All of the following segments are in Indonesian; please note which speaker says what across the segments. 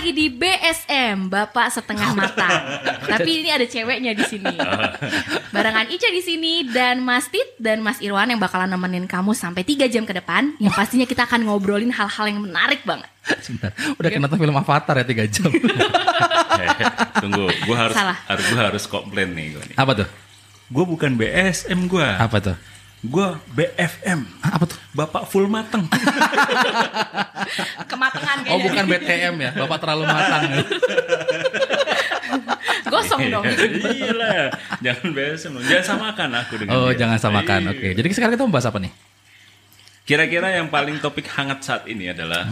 Speaker 1: di BSM Bapak Setengah Matang. Tapi ini ada ceweknya di sini. Barengan Ica di sini dan Mas Tit dan Mas Irwan yang bakalan nemenin kamu sampai 3 jam ke depan. Yang pastinya kita akan ngobrolin hal-hal yang menarik banget.
Speaker 2: Sebentar. Udah kayak nonton film Avatar ya 3 jam.
Speaker 3: Tunggu, gue harus,
Speaker 1: Salah.
Speaker 3: harus gue harus komplain nih gue nih.
Speaker 2: Apa tuh?
Speaker 3: Gue bukan BSM gue,
Speaker 2: Apa tuh?
Speaker 3: gue BFM.
Speaker 2: Ah, Apa tuh?
Speaker 3: Bapak full mateng.
Speaker 1: Kematangan
Speaker 2: Oh
Speaker 1: kayaknya.
Speaker 2: bukan BTM ya, Bapak terlalu matang.
Speaker 1: Gosong dong.
Speaker 3: Iya lah, jangan BSM. dong. Jangan samakan aku dengan.
Speaker 2: Oh
Speaker 3: dia.
Speaker 2: jangan samakan,
Speaker 3: Iya.
Speaker 2: oke. Jadi sekarang kita membahas apa nih?
Speaker 3: Kira-kira yang paling topik hangat saat ini adalah,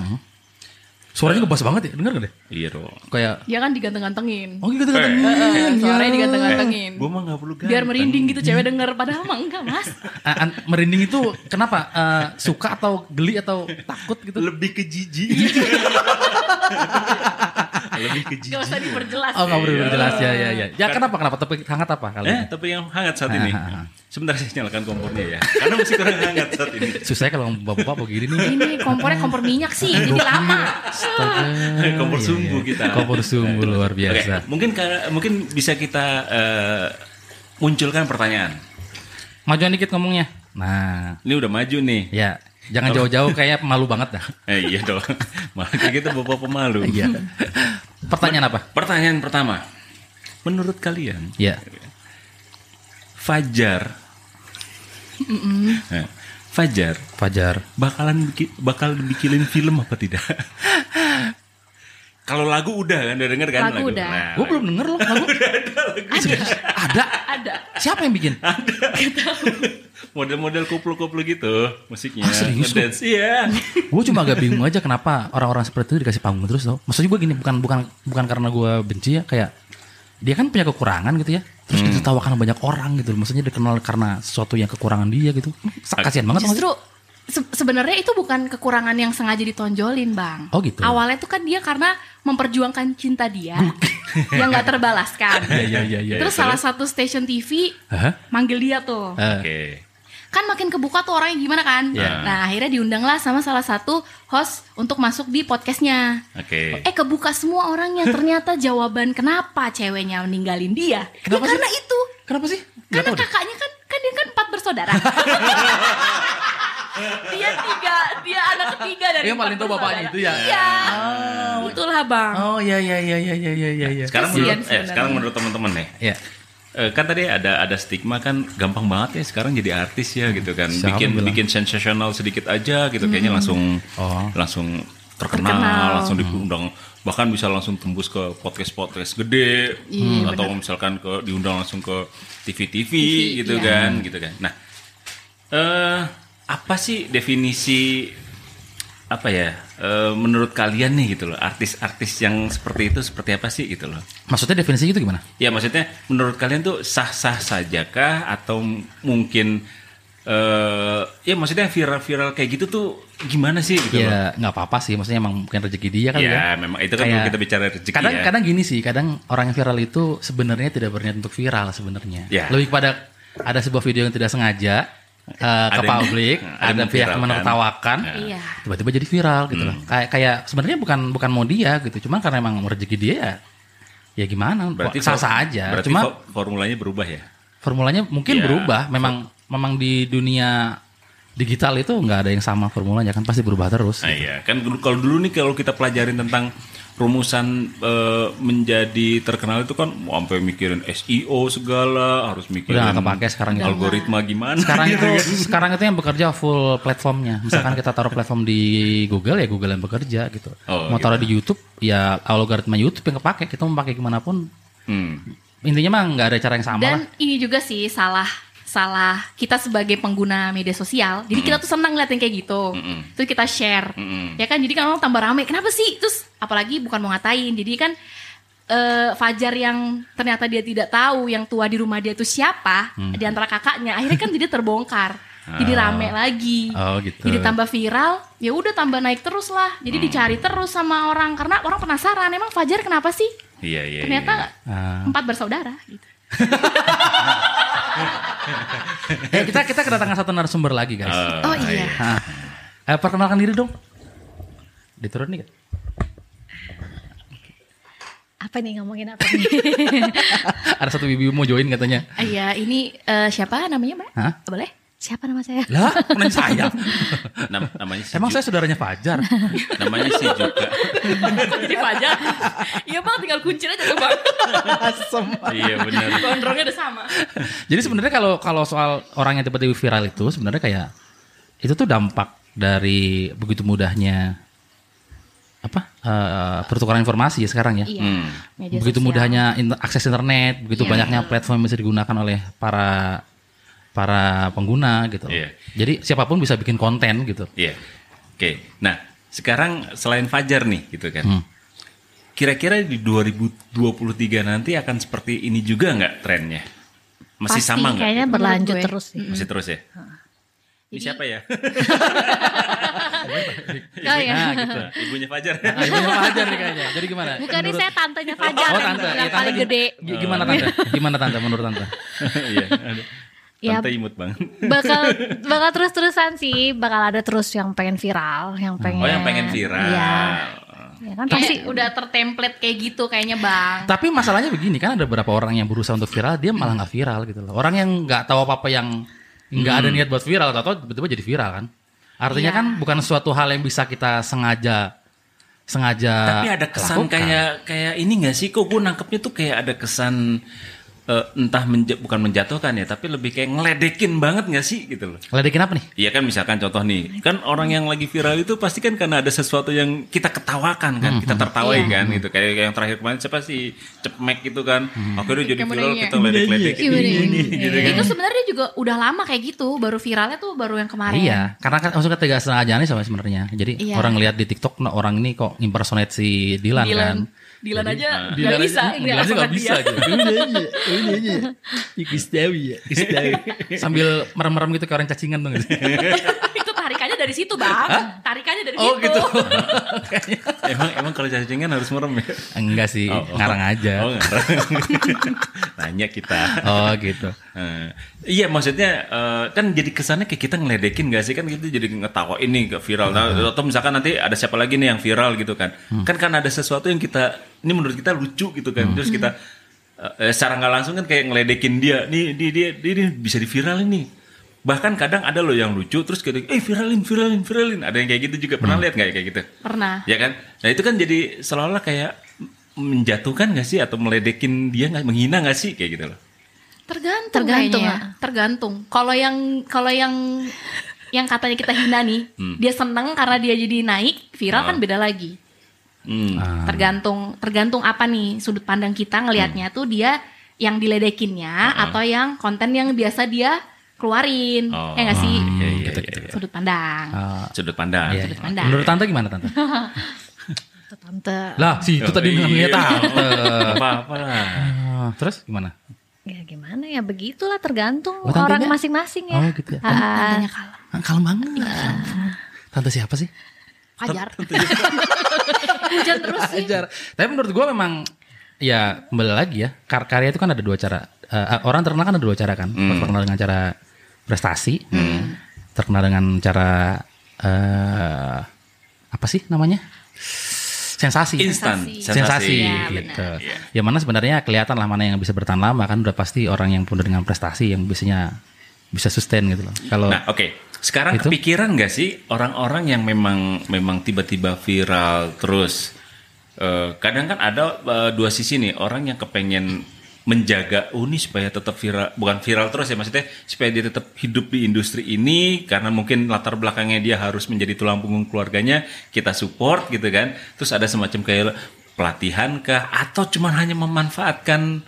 Speaker 2: Suaranya ngebas banget ya, denger gak deh?
Speaker 3: iya Ro.
Speaker 2: Kayak,
Speaker 1: Dia kan diganteng-gantengin. Eh,
Speaker 2: oh Eh, gitu
Speaker 3: Eh.
Speaker 2: gitu gitu.
Speaker 1: Suaranya diganteng-gantengin.
Speaker 3: Gue mah gak perlu ganteng.
Speaker 1: Biar merinding gitu cewek denger padahal mah enggak, Mas.
Speaker 2: Ah, an- merinding itu kenapa? Eh, suka atau geli atau takut gitu?
Speaker 3: Lebih ke jijik.
Speaker 1: Iya.
Speaker 3: Lebih ke
Speaker 1: Gak
Speaker 3: jijik.
Speaker 1: usah diperjelas.
Speaker 2: Oh nggak perlu
Speaker 3: Iya.
Speaker 2: jelas ya ya ya. Ya kenapa kenapa? Tapi hangat apa kali?
Speaker 3: Eh,
Speaker 2: ini?
Speaker 3: tapi yang hangat saat ini.
Speaker 2: Ah, ah, ah.
Speaker 3: Sebentar saya nyalakan kompornya ya. Karena masih kurang hangat saat ini.
Speaker 2: Susah kalau bapak-bapak begini nih. iya.
Speaker 1: Ini kompornya kompor minyak sih, jadi lama.
Speaker 2: Astaga.
Speaker 3: Kompor
Speaker 2: Iya,
Speaker 3: sumbu
Speaker 2: iya.
Speaker 3: kita. Eh,
Speaker 2: Kompor sumbu luar biasa.
Speaker 3: Oke, mungkin kar- mungkin bisa kita eh, munculkan pertanyaan.
Speaker 2: Majuan dikit ngomongnya. Nah,
Speaker 3: Ini udah maju nih.
Speaker 2: ya jangan jauh-jauh kayaknya malu banget dah.
Speaker 3: Eh, iya dong. Malah kayak gitu bapak pemalu.
Speaker 1: Iya.
Speaker 2: Pertanyaan apa?
Speaker 3: Pertanyaan pertama. Menurut kalian,
Speaker 2: Ya.
Speaker 3: Fajar Eh, Fajar
Speaker 2: Fajar.
Speaker 3: bakalan biki- bakal dibikinin film apa tidak? Kalau lagu udah kan udah denger kan
Speaker 1: Lagu udah.
Speaker 3: Nah,
Speaker 2: Gue belum denger loh lagu. Serius? Ada.
Speaker 1: Ada.
Speaker 2: Siapa yang bikin?
Speaker 3: model-model koplo-koplo gitu musiknya.
Speaker 1: Oh,
Speaker 2: Ah, serius lu?
Speaker 3: Ngedance. Iya.
Speaker 2: gue cuma agak bingung aja kenapa orang-orang seperti itu dikasih panggung terus tau. Maksudnya gue gini bukan bukan bukan karena gue benci ya kayak dia kan punya kekurangan gitu ya. Terus ditertawakan banyak orang gitu. Maksudnya dikenal karena sesuatu yang kekurangan dia gitu. Sa- Kasihan banget.
Speaker 1: Justru se- sebenarnya itu bukan kekurangan yang sengaja ditonjolin, Bang.
Speaker 2: Oh, gitu.
Speaker 1: Awalnya tuh kan dia karena memperjuangkan cinta dia yang nggak terbalaskan.
Speaker 2: Iya, iya, iya, iya.
Speaker 1: Terus salah satu stasiun TV
Speaker 2: Hah?
Speaker 1: manggil dia tuh.
Speaker 2: Eh,
Speaker 3: Oke.
Speaker 1: Kan makin kebuka tuh orangnya gimana kan?
Speaker 2: Iya.
Speaker 1: Nah, akhirnya diundanglah sama salah satu host untuk masuk di podcastnya.
Speaker 3: Oke.
Speaker 1: Eh kebuka semua orangnya ternyata jawaban kenapa ceweknya ninggalin dia. Ya,
Speaker 2: Kenapa sih?
Speaker 1: karena itu.
Speaker 2: kenapa sih? Gak
Speaker 1: Karena
Speaker 2: tau deh.
Speaker 1: kakaknya kan kan dia kan empat bersaudara. dia tiga, dia anak ketiga dari
Speaker 2: Dia paling
Speaker 1: empat
Speaker 2: tahu bapaknya
Speaker 1: bersaudara.
Speaker 2: itu ya? Ah,
Speaker 1: Iya. Itulah bang.
Speaker 2: Oh iya iya iya iya iya iya iya.
Speaker 3: Sekarang
Speaker 1: Kasian
Speaker 3: menurut eh,
Speaker 1: sebenarnya.
Speaker 3: sekarang menurut teman-teman nih.
Speaker 2: Ya.
Speaker 3: Eh, kan tadi ada ada stigma kan gampang banget ya sekarang jadi artis ya gitu kan
Speaker 2: Siapa
Speaker 3: bikin
Speaker 2: bilang?
Speaker 3: bikin sensasional sedikit aja gitu kayaknya langsung
Speaker 2: Oh. Hmm.
Speaker 3: langsung terkenal,
Speaker 1: Hmm. Terkenal.
Speaker 3: langsung diundang bahkan bisa langsung tembus ke podcast podcast gede Hmm,
Speaker 1: Iya,
Speaker 3: atau misalkan ke diundang langsung ke TV TV
Speaker 1: TV,
Speaker 3: gitu
Speaker 1: iya.
Speaker 3: kan gitu kan nah eh apa sih definisi apa ya eh, menurut kalian nih gitu loh artis-artis yang seperti itu seperti apa sih gitu loh
Speaker 2: Maksudnya definisinya itu gimana?
Speaker 3: Ya maksudnya menurut kalian tuh sah-sah sajakah atau m- mungkin eh ya maksudnya viral-viral kayak gitu tuh gimana sih gitu loh.
Speaker 2: Ya nggak apa-apa sih. Maksudnya emang mungkin rezeki dia kali ya.
Speaker 3: Ya, memang itu kan
Speaker 2: Kayak-
Speaker 3: kita bicara rezeki
Speaker 2: kadang
Speaker 3: ya.
Speaker 2: kadang gini sih kadang orang yang viral itu sebenarnya tidak berniat untuk viral sebenarnya
Speaker 3: Ya.
Speaker 2: lebih kepada ada sebuah video yang tidak sengaja uh, ke
Speaker 3: Ada yang-
Speaker 2: publik
Speaker 3: ada yang
Speaker 2: ada pihak
Speaker 3: memviralkan. Hmm.
Speaker 2: menertawakan
Speaker 1: Iya.
Speaker 2: tiba-tiba jadi viral gitu loh kayak kayak sebenarnya bukan bukan mau dia gitu cuman karena emang rezeki dia ya, ya gimana sah sah
Speaker 3: fo-
Speaker 2: aja
Speaker 3: Berarti
Speaker 2: cuma
Speaker 3: fo- formulanya berubah ya.
Speaker 2: formulanya mungkin
Speaker 3: Ya.
Speaker 2: berubah memang memang di dunia digital itu nggak ada yang sama formulanya kan pasti berubah terus
Speaker 3: Nah, iya, kan dulu- kalau dulu nih kalau kita pelajarin tentang rumusan eh, menjadi terkenal itu kan mau sampai mikirin SEO segala, harus mikirin
Speaker 2: Udah nggak kepake sekarang gitu. itu.
Speaker 3: algoritma gimana. gitu.
Speaker 2: sekarang itu sekarang itu yang bekerja full platformnya misalkan kita taruh platform di Google ya Google yang bekerja gitu
Speaker 3: Oh,
Speaker 2: mau taruh di YouTube ya algoritma YouTube yang kepake kita mau pakai gimana pun
Speaker 3: Hmm.
Speaker 2: intinya mah nggak ada cara yang sama
Speaker 1: Dan
Speaker 2: lah
Speaker 1: ini juga sih salah salah kita sebagai pengguna media sosial. Jadi kita tuh senang ngeliatin kayak gitu. Terus kita share.
Speaker 3: Mm-mm.
Speaker 1: Ya kan jadi kan orang tambah rame. Kenapa sih? Terus apalagi bukan mau ngatain. Jadi kan eh, Fajar yang ternyata dia tidak tahu yang tua di rumah dia itu siapa di antara kakaknya. Akhirnya kan jadi terbongkar. Jadi rame lagi.
Speaker 2: Oh, gitu.
Speaker 1: Jadi tambah viral, ya udah tambah naik terus lah. Jadi dicari terus sama orang karena orang penasaran emang Fajar kenapa sih?
Speaker 3: Iya, iya. iya.
Speaker 1: Ternyata
Speaker 2: Ah.
Speaker 1: empat bersaudara gitu.
Speaker 2: eh kita kita kedatangan satu narasumber lagi guys Ah.
Speaker 3: Eh,
Speaker 1: Oh iya.
Speaker 2: Hah. Eh, perkenalkan diri dong diturunin nggak?
Speaker 1: Apa nih ngomongin apa nih?
Speaker 2: Ada satu bibi mau join katanya.
Speaker 1: Iya, ini eh, siapa namanya, Mbak?
Speaker 2: Hah?
Speaker 1: Boleh? Siapa nama saya?
Speaker 2: Lah, kok nanya saya.
Speaker 3: Nam- namanya si
Speaker 2: Emang
Speaker 3: Ju-
Speaker 2: saya saudaranya Fajar.
Speaker 3: namanya si juga
Speaker 1: Jadi Fajar. Iya, Bang, tinggal kuncir aja tuh, Bang.
Speaker 2: Asem.
Speaker 3: iya benar
Speaker 1: Gondrongnya udah sama.
Speaker 2: Jadi sebenarnya kalau kalau soal orang yang tiba-tiba viral itu sebenarnya kayak itu tuh dampak dari begitu mudahnya apa eh, pertukaran informasi ya sekarang ya.
Speaker 1: Iya.
Speaker 3: Hmm.
Speaker 1: media
Speaker 2: Begitu
Speaker 1: sosial.
Speaker 2: mudahnya in- akses internet, begitu
Speaker 1: Iya.
Speaker 2: banyaknya platform yang bisa digunakan oleh para para pengguna gitu.
Speaker 3: Iya.
Speaker 2: Jadi siapapun bisa bikin konten gitu.
Speaker 3: iya oke nah sekarang selain Fajar nih gitu kan
Speaker 2: Hmm.
Speaker 3: kira-kira di 2023 nanti akan seperti ini juga nggak trennya masih
Speaker 4: Pasti,
Speaker 3: sama nggak
Speaker 4: kayaknya
Speaker 3: gitu?
Speaker 4: berlanjut
Speaker 1: Menurut gue.
Speaker 4: terus sih.
Speaker 3: masih terus ya ini
Speaker 1: Jadi-
Speaker 3: siapa ya
Speaker 1: Oh iya.
Speaker 2: Nah, gitu.
Speaker 3: ibunya Fajar
Speaker 2: Nah, ini Fajar nih kayaknya. Jadi gimana?
Speaker 4: Bukan nih
Speaker 2: Menurut-
Speaker 4: saya tantenya Fajar
Speaker 1: kan,
Speaker 2: Oh, tante.
Speaker 4: yang
Speaker 2: Ya, tante
Speaker 4: paling
Speaker 2: gim-
Speaker 4: gede.
Speaker 2: gi- Gimana tante? Gimana tante menurut tante?
Speaker 3: iya ada.
Speaker 4: Iya.
Speaker 3: tante imut banget
Speaker 4: Bakal bakal terus-terusan sih, bakal ada terus yang pengen viral, yang pengen
Speaker 3: oh yang pengen viral
Speaker 4: Iya. Ya kan
Speaker 1: Kayak
Speaker 4: pasti
Speaker 1: udah tertemplate kayak gitu kayaknya, Bang.
Speaker 2: Tapi masalahnya begini kan ada beberapa orang yang berusaha untuk viral dia malah nggak viral gitu loh. Orang yang nggak tahu apa apa yang nggak ada niat buat viral atau tiba-tiba jadi viral kan. Artinya
Speaker 1: Iya.
Speaker 2: kan bukan suatu hal yang bisa kita sengaja sengaja.
Speaker 3: Tapi ada kesan
Speaker 2: lakukan.
Speaker 3: kayak kayak ini gak sih? Kok gue nangkepnya tuh kayak ada kesan eh, entah menja- bukan menjatuhkan ya, tapi lebih kayak ngeledekin banget gak sih gitu loh.
Speaker 2: ledekin apa nih?
Speaker 3: Iya kan misalkan contoh nih, kan orang yang lagi viral itu pasti kan karena ada sesuatu yang kita ketawakan kan, kita
Speaker 1: Iya.
Speaker 3: tertawain kan gitu. Kayak yang terakhir kemarin siapa sih Cepmek gitu kan. Akhirnya jadi
Speaker 1: Kayak
Speaker 3: viral
Speaker 1: menanya.
Speaker 3: kita ledek-ledek
Speaker 1: Iya,
Speaker 3: ini
Speaker 1: iya,
Speaker 3: ini gitu kan.
Speaker 1: Itu sebenarnya juga udah lama kayak gitu, baru viralnya tuh baru yang kemarin.
Speaker 2: Iya, karena kan maksudnya tidak sengaja nih sama sebenarnya. Jadi
Speaker 1: Iya.
Speaker 2: orang lihat di TikTok nah, orang ini kok impersonate si Dilan, kan.
Speaker 1: Dilan. Dilan aja
Speaker 2: Jadi, nah,
Speaker 1: nggak
Speaker 2: Dilan
Speaker 1: bisa.
Speaker 2: aja- Dilan aja nggak bisa gitu. iya, Sambil merem-merem gitu kayak orang cacingan tuh. nggak sih?
Speaker 1: itu tarikannya dari situ, Bang. Tarikannya dari
Speaker 2: Oh
Speaker 1: situ.
Speaker 2: gitu.
Speaker 3: Emang emang kalau cacingan harus merem ya.
Speaker 2: Enggak sih,
Speaker 3: Oh, oh.
Speaker 2: ngarang aja.
Speaker 3: Oh, ngarang. Nanya kita.
Speaker 2: Oh gitu.
Speaker 3: Eh, iya maksudnya eh, kan jadi kesannya kayak kita ngeledekin gak sih kan gitu jadi ngetawa ini ke viral Nah, atau misalkan nanti ada siapa lagi nih yang viral gitu kan kan kan ada sesuatu yang kita ini menurut kita lucu gitu kan terus kita eh, eh, secara nggak langsung kan kayak ngeledekin dia nih dia dia, dia, dia bisa diviralin nih bahkan kadang ada loh yang lucu terus kayak eh viralin viralin viralin ada yang kayak gitu juga pernah lihat nggak ya kayak gitu
Speaker 1: Pernah.
Speaker 3: ya kan nah itu kan jadi seolah-olah kayak menjatuhkan gak sih atau meledekin dia nggak menghina gak sih kayak gitu loh
Speaker 1: Tergantung,
Speaker 4: Tergantung,
Speaker 1: kayaknya. Tergantung. Kalau yang kalau yang yang katanya kita hina nih, dia seneng karena dia jadi naik, viral
Speaker 3: Ah.
Speaker 1: kan beda lagi.
Speaker 3: Hmm.
Speaker 1: Tergantung tergantung apa nih sudut pandang kita
Speaker 3: Hmm.
Speaker 1: ngelihatnya tuh dia yang diledekinnya
Speaker 3: Ah.
Speaker 1: atau yang konten yang biasa dia keluarin.
Speaker 3: Oh,
Speaker 1: Ya nggak sih?
Speaker 3: iya, iya,
Speaker 2: Gitu,
Speaker 3: iya, iya.
Speaker 1: Sudut pandang.
Speaker 2: Ah,
Speaker 3: sudut pandang.
Speaker 2: iya,
Speaker 1: sudut
Speaker 2: iya.
Speaker 1: pandang.
Speaker 2: Menurut tante gimana tante?
Speaker 4: tante
Speaker 2: lah si
Speaker 3: Oh,
Speaker 2: itu
Speaker 3: iya.
Speaker 2: tadi ngeliat tante.
Speaker 3: apa apa lah.
Speaker 2: Ah, Terus gimana?
Speaker 4: ya gimana ya begitulah tergantung
Speaker 2: Oh, tantenya?
Speaker 4: orang masing-masing ya.
Speaker 2: Oh, gitu ya.
Speaker 4: Ah,
Speaker 1: Tantenya kalem.
Speaker 3: Nah,
Speaker 2: Ah, Kalem banget.
Speaker 1: Iya.
Speaker 2: Tante siapa sih?
Speaker 1: Fajar. Hujan terus sih.
Speaker 2: Ajar. Tapi menurut gua memang ya kembali lagi ya kar- karya itu kan ada dua cara. Eh, orang terkenal kan ada dua cara kan.
Speaker 3: Hmm.
Speaker 2: Terkenal dengan cara prestasi, terkenal dengan cara eh apa sih namanya sensasi.
Speaker 3: Instan,
Speaker 2: sensasi,
Speaker 1: Iya,
Speaker 2: gitu.
Speaker 1: benar.
Speaker 3: Iya.
Speaker 2: Ya mana sebenarnya kelihatan lah mana yang bisa bertahan lama kan udah pasti orang yang penuh dengan prestasi yang biasanya bisa sustain gitu loh. Kalau
Speaker 3: Nah, oke. Sekarang
Speaker 2: Itu?
Speaker 3: kepikiran nggak sih orang-orang yang memang memang tiba-tiba viral terus eh, kadang kan ada eh, dua sisi nih orang yang kepengen menjaga uni supaya tetap viral bukan viral terus ya maksudnya supaya dia tetap hidup di industri ini karena mungkin latar belakangnya dia harus menjadi tulang punggung keluarganya kita support gitu kan terus ada semacam kayak pelatihan kah atau cuman hanya memanfaatkan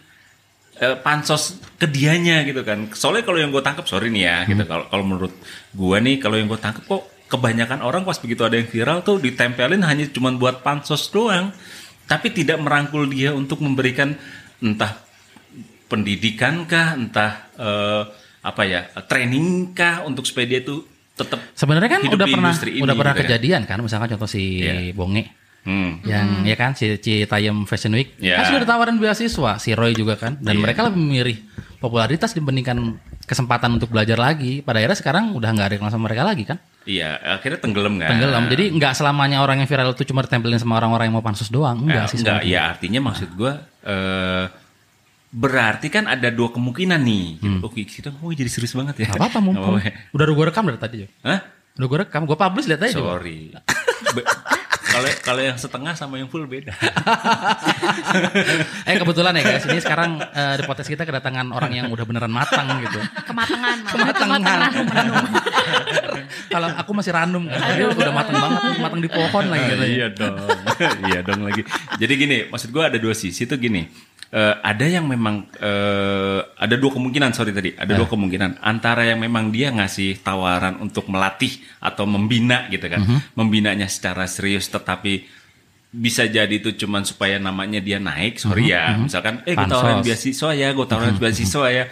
Speaker 3: eh, pansos kedianya gitu kan. Soalnya kalau yang gue tangkap, sorry nih ya,
Speaker 2: Hmm.
Speaker 3: gitu. Kalau kalau menurut gue nih, kalau yang gue tangkap kok kebanyakan orang pas begitu ada yang viral tuh ditempelin hanya cuman buat pansos doang, tapi tidak merangkul dia untuk memberikan entah pendidikan kah, entah eh, apa ya, training kah untuk supaya dia tuh tetap
Speaker 2: sebenarnya kan
Speaker 3: hidup
Speaker 2: udah
Speaker 3: di
Speaker 2: pernah
Speaker 3: industri ini
Speaker 2: udah pernah
Speaker 3: gitu ya.
Speaker 2: kejadian kan misalkan contoh si
Speaker 3: Iya.
Speaker 2: Bonge
Speaker 3: Hmm.
Speaker 2: yang ya kan si Citayam Fashion Week
Speaker 3: Ya.
Speaker 2: kan sudah ditawarin beasiswa si Roy juga kan dan
Speaker 3: Iya.
Speaker 2: mereka lebih memilih popularitas dibandingkan kesempatan untuk belajar lagi pada akhirnya sekarang udah nggak ada yang kenal sama mereka lagi kan
Speaker 3: Iya, akhirnya tenggelam kan?
Speaker 2: Tenggelam. Jadi nggak selamanya orang yang viral itu cuma ditempelin sama orang-orang yang mau pansus doang.
Speaker 3: Eh,
Speaker 2: Enggak sih.
Speaker 3: enggak,
Speaker 2: sebenarnya.
Speaker 3: ya artinya maksud gue eh berarti kan ada dua kemungkinan nih. Gitu. Oke, kita ngomongnya jadi serius banget ya.
Speaker 2: Hmm. Nggak apa-apa mumpung.
Speaker 3: Nggak apa-apa.
Speaker 2: Udah gue rekam dari tadi. Jo.
Speaker 3: Hah?
Speaker 2: Udah gue rekam. Gue publish lihat aja. Jo.
Speaker 3: Sorry. Be- Kalau kalau yang setengah sama yang full beda.
Speaker 2: Eh kebetulan ya guys. Ini sekarang eh, di podcast kita kedatangan orang yang udah beneran matang gitu.
Speaker 1: Kematangan malah.
Speaker 2: Kematangan. Kalau aku masih ranum. Dia udah matang banget. Matang di pohon lagi gitu.
Speaker 3: iya dong. iya dong lagi. Jadi gini, maksud gue ada dua sisi tuh gini. Eh, ada yang memang eh ada dua kemungkinan sorry tadi ada dua kemungkinan antara yang memang dia ngasih tawaran untuk melatih atau membina gitu kan membinanya secara serius tetapi bisa jadi itu cuman supaya namanya dia naik sorry ya misalkan eh gue
Speaker 2: Pansos.
Speaker 3: tawaran beasiswa ya gue tawaran beasiswa ya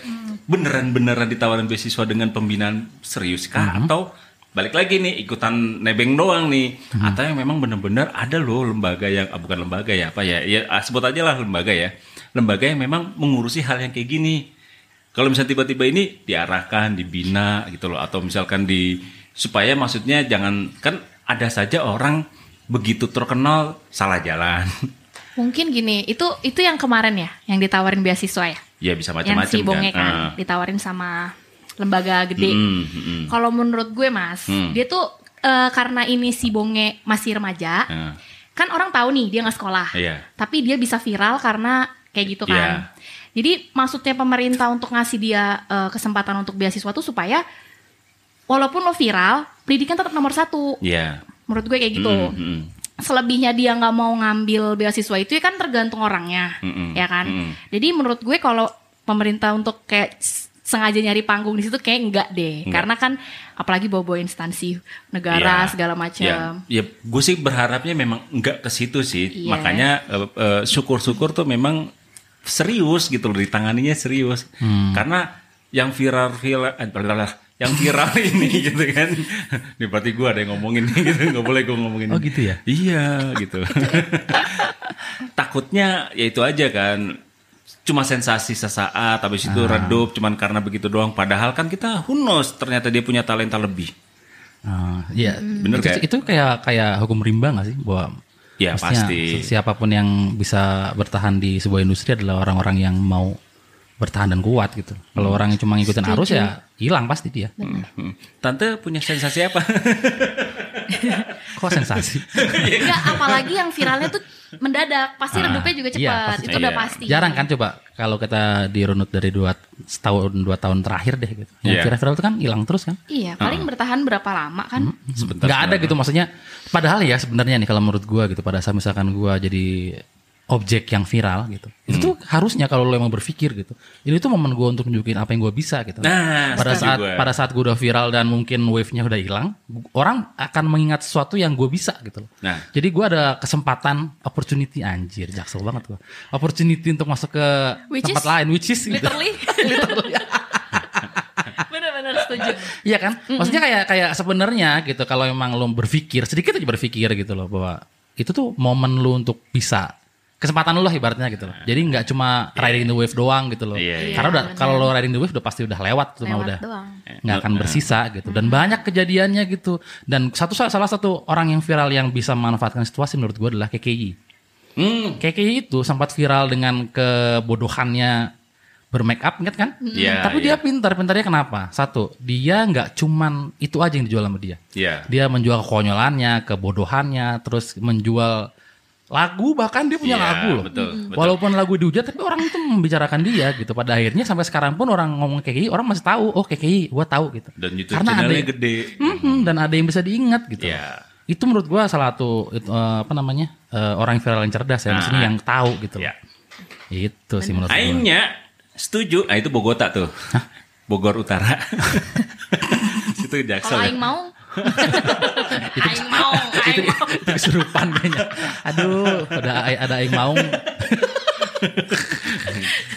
Speaker 3: beneran beneran ditawaran beasiswa dengan pembinaan serius kah atau balik lagi nih ikutan nebeng doang nih atau yang memang bener-bener ada loh lembaga yang ah, bukan lembaga ya apa ya ya ah, sebut aja lah lembaga ya lembaga yang memang mengurusi hal yang kayak gini kalau misalnya tiba-tiba ini diarahkan dibina gitu loh atau misalkan di supaya maksudnya jangan kan ada saja orang begitu terkenal salah jalan
Speaker 1: Mungkin gini, itu itu yang kemarin ya, yang ditawarin beasiswa ya.
Speaker 3: ya bisa
Speaker 1: yang
Speaker 3: macam-macam
Speaker 1: si bonge kan
Speaker 3: Ah.
Speaker 1: ditawarin sama lembaga gede.
Speaker 3: Mm, mm, mm.
Speaker 1: Kalau menurut gue mas,
Speaker 3: Hmm.
Speaker 1: dia tuh eh, karena ini si bonge masih remaja,
Speaker 3: Ah.
Speaker 1: kan orang tahu nih dia nggak sekolah,
Speaker 3: Iya.
Speaker 1: tapi dia bisa viral karena kayak gitu kan. Jadi maksudnya pemerintah untuk ngasih dia eh, kesempatan untuk beasiswa tuh supaya walaupun lo viral, pendidikan tetap nomor satu.
Speaker 3: Iya.
Speaker 1: Menurut gue kayak gitu.
Speaker 3: Mm, mm,
Speaker 1: Selebihnya dia nggak mau ngambil beasiswa itu ya kan tergantung orangnya,
Speaker 3: Mm-mm.
Speaker 1: ya kan.
Speaker 3: Mm-mm.
Speaker 1: Jadi menurut gue kalau pemerintah untuk kayak s- sengaja nyari panggung di situ kayak enggak deh,
Speaker 3: Enggak.
Speaker 1: karena kan apalagi bawa-bawa instansi negara
Speaker 3: Iya.
Speaker 1: segala
Speaker 3: Ya,
Speaker 1: macam.
Speaker 3: ya gue sih berharapnya memang nggak ke situ sih.
Speaker 1: Iya.
Speaker 3: Makanya eh, eh, syukur-syukur tuh memang serius gitu loh, ditanganinya serius.
Speaker 2: Hmm.
Speaker 3: Karena yang viral viral eh, blablabla, yang viral ini gitu kan. Ini berarti gue ada yang ngomongin nih, gitu, nggak boleh gue ngomongin.
Speaker 2: Oh, gitu ya?
Speaker 3: Iya gitu. Takutnya ya itu aja kan. Cuma sensasi sesaat, habis itu
Speaker 2: Ah.
Speaker 3: redup, cuman karena begitu doang. Padahal kan kita who knows, ternyata dia punya talenta lebih.
Speaker 2: Ah, Iya.
Speaker 3: Bener
Speaker 2: itu,
Speaker 3: kayak-
Speaker 2: itu kayak kayak hukum rimba nggak sih bahwa
Speaker 3: Ya,
Speaker 2: mestinya
Speaker 3: pasti.
Speaker 2: si- siapapun yang bisa bertahan di sebuah industri adalah orang-orang yang mau bertahan dan kuat gitu. Kalau orang yang cuma ngikutin arus ya hilang pasti dia.
Speaker 3: Hmm. Tante punya sensasi apa?
Speaker 2: Kok sensasi?
Speaker 3: Iya.
Speaker 1: Enggak, apalagi yang viralnya tuh mendadak,
Speaker 3: Ah.
Speaker 1: pasti redupnya juga cepat.
Speaker 2: iya, pasti
Speaker 1: itu udah
Speaker 3: cepat.
Speaker 1: pasti.
Speaker 2: Jarang kan coba kalau kita dirunut dari dua setahun dua tahun terakhir deh gitu.
Speaker 3: Iya.
Speaker 2: Yang viral-viral itu kan hilang terus kan?
Speaker 3: Ah.
Speaker 1: Iya, paling bertahan berapa lama kan?
Speaker 3: Sebentar.
Speaker 2: nggak ada gitu maksudnya padahal ya sebenarnya nih kalau menurut gua gitu pada saat misalkan gua jadi objek yang viral gitu
Speaker 3: Hmm.
Speaker 2: itu tuh harusnya kalau lo emang berpikir gitu ini tuh momen gua untuk nunjukin apa yang gua bisa gitu
Speaker 3: Nah,
Speaker 2: pada
Speaker 3: setuju
Speaker 2: saat
Speaker 3: gua.
Speaker 2: pada saat gua udah viral dan mungkin wave nya udah hilang gu- orang akan mengingat sesuatu yang gua bisa gitu loh
Speaker 3: Nah.
Speaker 2: jadi gua ada kesempatan opportunity anjir jaksel banget gua opportunity untuk masuk ke
Speaker 1: Which
Speaker 2: tempat
Speaker 1: is-
Speaker 2: lain which is gitu
Speaker 1: Literally. Bener-bener setuju.
Speaker 2: Iya kan? Maksudnya kayak kayak sebenarnya gitu kalau emang lo berpikir sedikit aja berpikir gitu loh bahwa itu tuh momen lu untuk bisa kesempatan lu lah ibaratnya gitu loh. Jadi nggak cuma riding the wave doang gitu loh.
Speaker 3: Iya, iya.
Speaker 2: Karena udah
Speaker 1: Benar.
Speaker 2: kalau lo riding the wave udah pasti udah lewat tuh mah
Speaker 1: Lewat
Speaker 2: udah.
Speaker 1: doang.
Speaker 2: Nggak akan bersisa gitu. Dan banyak kejadiannya gitu. Dan satu salah satu orang yang viral yang bisa memanfaatkan situasi menurut gua adalah KKI.
Speaker 3: Hmm.
Speaker 2: KKI itu gitu, sempat viral dengan kebodohannya bermake up, ingat kan?
Speaker 3: Iya,
Speaker 2: Tapi dia
Speaker 3: iya.
Speaker 2: pintar, pintarnya kenapa? Satu, dia nggak cuman itu aja yang dijual sama dia.
Speaker 3: Iya.
Speaker 2: Dia menjual kekonyolannya, kebodohannya, terus menjual lagu bahkan dia punya
Speaker 3: Iya,
Speaker 2: lagu loh.
Speaker 3: betul, betul.
Speaker 2: Walaupun lagu dihujat tapi orang itu membicarakan dia gitu. Pada akhirnya sampai sekarang pun orang ngomong KKI orang masih tahu, oh KKI gua tahu gitu.
Speaker 3: Dan YouTube
Speaker 2: ada
Speaker 3: channelnya gede.
Speaker 2: Mhm, dan ada yang bisa diingat gitu.
Speaker 3: Iya.
Speaker 2: Itu menurut gua salah satu itu, eh, apa namanya? eh, orang viral yang cerdas ya, maksudnya
Speaker 3: Ah.
Speaker 2: yang tahu gitu.
Speaker 3: Ya.
Speaker 2: loh. Itu sih menurut gua.
Speaker 3: Akhirnya setuju. Nah, itu Bogota tuh. Bogor Utara.
Speaker 1: Kalau
Speaker 3: Situ Jaksel. ya.
Speaker 1: Aing mau, Aing mau, Aing mau.
Speaker 2: Itu kesurupan kayaknya. Aduh, ada ada yang mau.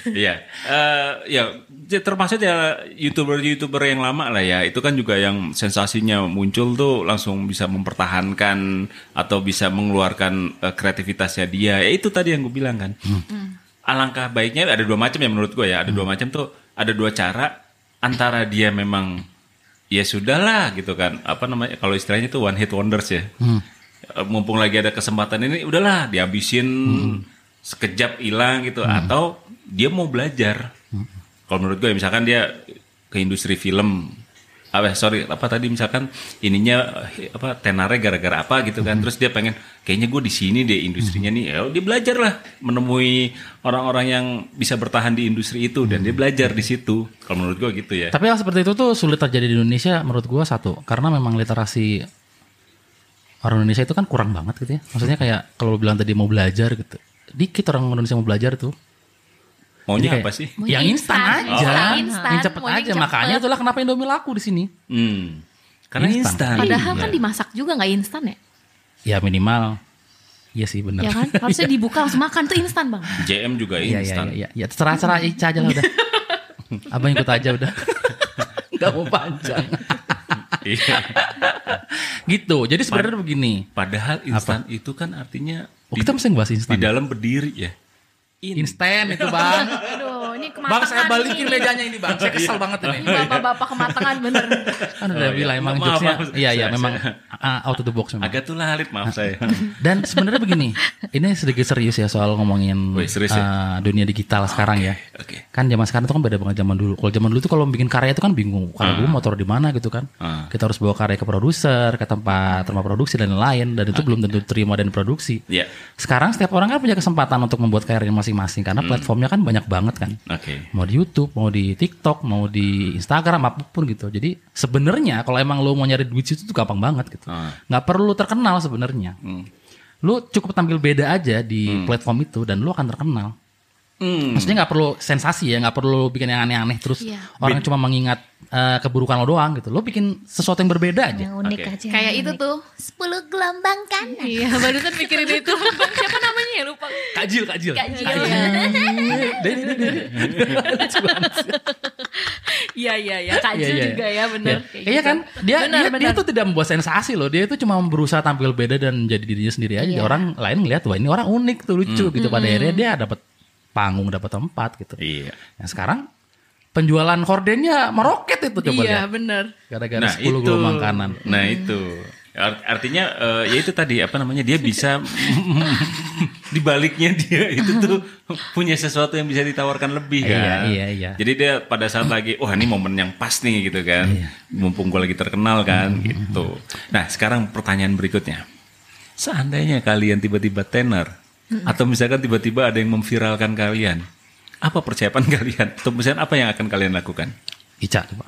Speaker 3: Iya. Eh, ya j- termasuk ya YouTuber-YouTuber yang lama lah ya. Itu kan juga yang sensasinya muncul tuh langsung bisa mempertahankan atau bisa mengeluarkan eh, kreativitasnya dia. Ya itu tadi yang gue bilang kan. Alangkah baiknya ada dua macam ya menurut gue ya. Ada dua macam tuh, ada dua cara antara dia memang ya sudahlah gitu kan. Apa namanya kalau istilahnya itu one hit wonders ya. Eh, Mumpung lagi ada kesempatan ini udahlah dihabisin sekejap hilang gitu atau dia mau belajar. Kalau menurut gue misalkan dia ke industri film apa sorry apa tadi misalkan ininya eh, apa tenare gara-gara apa gitu kan terus dia pengen kayaknya gue di sini deh industrinya nih ya dia belajar lah menemui orang-orang yang bisa bertahan di industri itu dan dia belajar di situ kalau menurut gue gitu ya
Speaker 2: Tapi hal seperti itu tuh sulit terjadi di Indonesia menurut gua satu karena memang literasi orang Indonesia itu kan kurang banget gitu ya. Maksudnya kayak kalau lu bilang tadi mau belajar gitu. Dikit orang Indonesia mau belajar tuh. Jadi
Speaker 3: maunya
Speaker 2: kayak,
Speaker 3: apa sih
Speaker 1: Maunya
Speaker 2: yang instan
Speaker 1: instan,
Speaker 2: aja.
Speaker 1: instan,
Speaker 2: Yang
Speaker 1: instan,
Speaker 2: cepet
Speaker 1: maunya
Speaker 2: aja.
Speaker 1: cepet.
Speaker 2: Makanya itulah kenapa Indomie laku di sini.
Speaker 3: Hmm. Karena instan.
Speaker 2: Nah,
Speaker 1: Padahal kan
Speaker 3: Iya.
Speaker 1: dimasak juga nggak instan ya?
Speaker 2: Ya minimal. Iya sih benar.
Speaker 1: Ya kan? Harusnya dibuka langsung makan tuh instan bang.
Speaker 3: JM juga
Speaker 2: Iya iya
Speaker 3: instan.
Speaker 2: iya. Ya terserah-serah Ica aja lah udah. Abang ikut aja udah. Gak mau panjang.
Speaker 3: Iya.
Speaker 2: gitu. Jadi sebenarnya begini.
Speaker 3: Padahal instan itu kan artinya
Speaker 2: Oh,
Speaker 3: di,
Speaker 2: kita mesti ngebahas
Speaker 3: di
Speaker 2: instan.
Speaker 3: dalam berdiri ya.
Speaker 2: Instan itu bang.
Speaker 4: Aduh, ini kematangan
Speaker 2: Bang saya balikin
Speaker 4: nih.
Speaker 2: mejanya ini bang. Saya kesel banget ini.
Speaker 1: Ini bapak-bapak kematangan bener.
Speaker 2: Kan udah
Speaker 3: Oh, iya.
Speaker 2: bilang emang
Speaker 3: Maaf,
Speaker 2: jokesnya.
Speaker 3: maaf.
Speaker 2: Iya iya
Speaker 3: Saya-
Speaker 2: memang uh, out of the box memang.
Speaker 3: Agak tuh lah Halid, maaf saya.
Speaker 2: Dan sebenarnya begini, ini sedikit serius ya soal ngomongin
Speaker 3: Wih, serius ya?
Speaker 2: uh, dunia digital sekarang ya.
Speaker 3: Oke.
Speaker 2: Kan zaman sekarang itu kan beda banget zaman dulu. Kalau zaman dulu tuh kalau bikin karya itu kan bingung. Kalau dulu motor di mana gitu kan.
Speaker 3: Ah.
Speaker 2: Kita harus bawa karya ke produser, ke tempat rumah produksi dan lain-lain. Dan itu belum tentu terima dan produksi.
Speaker 3: Ah. Iya.
Speaker 2: Sekarang setiap orang kan punya kesempatan untuk membuat karyanya masing-masing. Karena
Speaker 3: Hmm.
Speaker 2: platformnya kan banyak banget kan.
Speaker 3: Oke.
Speaker 2: Mau di YouTube, mau di TikTok, mau di Instagram, apapun gitu. Jadi sebenarnya kalau emang lo mau nyari duit itu tuh gampang banget gitu.
Speaker 3: Ah.
Speaker 2: Nggak perlu terkenal sebenarnya.
Speaker 3: Hmm.
Speaker 2: Lu cukup tampil beda aja di platform itu dan lu akan terkenal.
Speaker 3: Hmm.
Speaker 2: Maksudnya nggak perlu sensasi ya, nggak perlu bikin yang aneh-aneh terus orang cuma mengingat eh, keburukan lo doang gitu. Lo bikin sesuatu yang berbeda aja.
Speaker 4: Yang unik
Speaker 3: Oke.
Speaker 4: aja.
Speaker 1: Kayak itu tuh 10 gelombang kan. Iya, barusan mikirin itu. Siapa namanya ya lupa.
Speaker 2: Kajil, kajil.
Speaker 1: Kak Jill.
Speaker 2: Dari- dari- dari. Lucu banget.
Speaker 1: Iya, iya, iya. Kak Jill juga ya bener.
Speaker 2: Iya.
Speaker 1: Kayak
Speaker 2: Iya
Speaker 1: gitu.
Speaker 2: kan? Dia
Speaker 1: Benar,
Speaker 2: dia, dia
Speaker 1: benar.
Speaker 2: tuh tidak membuat sensasi loh. Dia itu cuma berusaha tampil beda dan jadi dirinya sendiri aja.
Speaker 1: Iya.
Speaker 2: Orang lain ngelihat wah ini orang unik tuh lucu
Speaker 1: Mm.
Speaker 2: gitu pada akhirnya dia dapat panggung, dapat tempat gitu.
Speaker 3: Iya.
Speaker 2: Nah, sekarang penjualan kordennya meroket itu coba
Speaker 1: Iya,
Speaker 2: lihat.
Speaker 1: bener.
Speaker 2: Gara-gara 10 gelombang kanan.
Speaker 3: Nah, itu. Art- artinya eh, ya itu tadi apa namanya dia bisa di baliknya dia itu tuh punya sesuatu yang bisa ditawarkan lebih
Speaker 2: Iya,
Speaker 3: kan.
Speaker 2: iya, iya.
Speaker 3: Jadi dia pada saat lagi wah ini momen yang pas nih gitu kan. Mumpung gue lagi terkenal kan gitu. Nah, sekarang pertanyaan berikutnya. Seandainya kalian tiba-tiba tenar atau misalkan tiba-tiba ada yang memviralkan kalian, apa persiapan kalian? Atau misalkan apa yang akan kalian lakukan?
Speaker 2: Ica coba.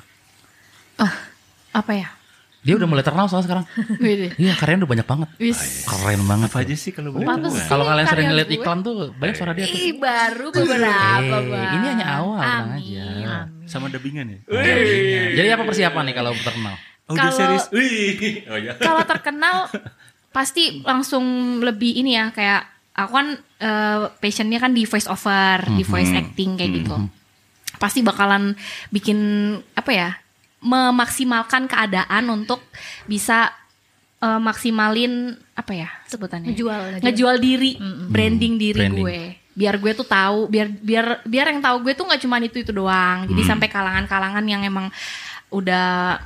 Speaker 1: Ah, apa ya?
Speaker 2: Dia udah mulai terkenal soalnya sekarang.
Speaker 1: Wih,
Speaker 2: Iya, karyanya udah banyak banget. iya.
Speaker 1: Wis.
Speaker 2: Keren banget.
Speaker 3: Apa aja sih kalau boleh
Speaker 4: Apa
Speaker 3: tahu?
Speaker 4: sih?
Speaker 2: Kalau kalian sering
Speaker 4: karya
Speaker 2: ngeliat
Speaker 4: gue?
Speaker 2: iklan tuh banyak suara dia tuh.
Speaker 1: Ih, baru beberapa,
Speaker 2: Eh,
Speaker 1: Bang.
Speaker 2: ini hanya awal, tenang aja.
Speaker 3: Sama dubbingan ya?
Speaker 2: Jadi Iya, apa persiapan nih kalau terkenal?
Speaker 3: Oh, udah
Speaker 4: Kalau-
Speaker 3: serius. Wih. Oh ya.
Speaker 4: Kalau terkenal pasti langsung lebih ini ya kayak
Speaker 1: aku kan eh, passionnya kan di voice over, di voice acting kayak gitu. Pasti bakalan bikin apa ya? Memaksimalkan keadaan untuk bisa eh, maksimalin apa ya sebutannya?
Speaker 4: Ngejual, ngejual.
Speaker 1: Ngejual diri, branding diri
Speaker 2: Branding.
Speaker 1: gue. Biar gue tuh tahu, biar biar biar yang tahu gue tuh nggak cuma itu itu doang. Jadi sampai kalangan-kalangan yang emang udah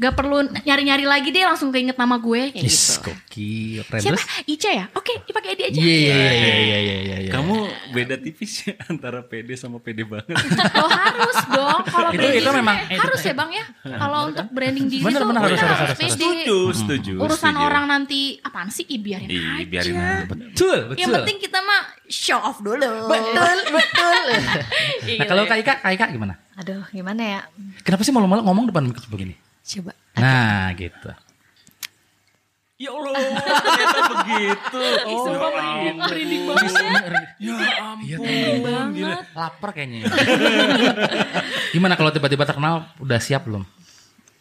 Speaker 1: gak perlu nyari-nyari lagi deh langsung keinget nama gue kayak
Speaker 2: Yes,
Speaker 1: gitu.
Speaker 2: gokil. Keren.
Speaker 1: Siapa?
Speaker 2: Terus?
Speaker 1: Ica ya? Oke, dipakai dia aja.
Speaker 2: Iya, iya, iya, iya, iya, iya, iya.
Speaker 3: Kamu beda tipis ya antara PD sama PD banget.
Speaker 1: Oh harus dong kalau
Speaker 2: Itu-
Speaker 1: branding
Speaker 2: itu memang-
Speaker 1: eh, harus ya bang ya kalau untuk branding diri
Speaker 2: Bener,
Speaker 1: tuh
Speaker 2: bener, harus,
Speaker 1: kita
Speaker 2: harus, harus,
Speaker 1: pede.
Speaker 3: setuju, setuju.
Speaker 1: urusan
Speaker 3: setuju.
Speaker 1: orang nanti apaan sih Ih, biarin
Speaker 3: Ih,
Speaker 1: aja
Speaker 3: biarin aja.
Speaker 2: Betul, betul. Oh.
Speaker 1: yang penting kita mah show off dulu
Speaker 2: betul, betul. nah, kalau Kak Ika, Kak Ika gimana?
Speaker 4: aduh gimana ya?
Speaker 2: Kenapa sih malu-malu ngomong depan mikrofon begini?
Speaker 4: Coba.
Speaker 2: Nah, gitu.
Speaker 3: Ya Allah, ternyata begitu. Oh,
Speaker 1: merinding
Speaker 3: ya ampun.
Speaker 2: Iya, banget. Lapar kayaknya. ya. Gimana kalau tiba-tiba terkenal udah siap belum?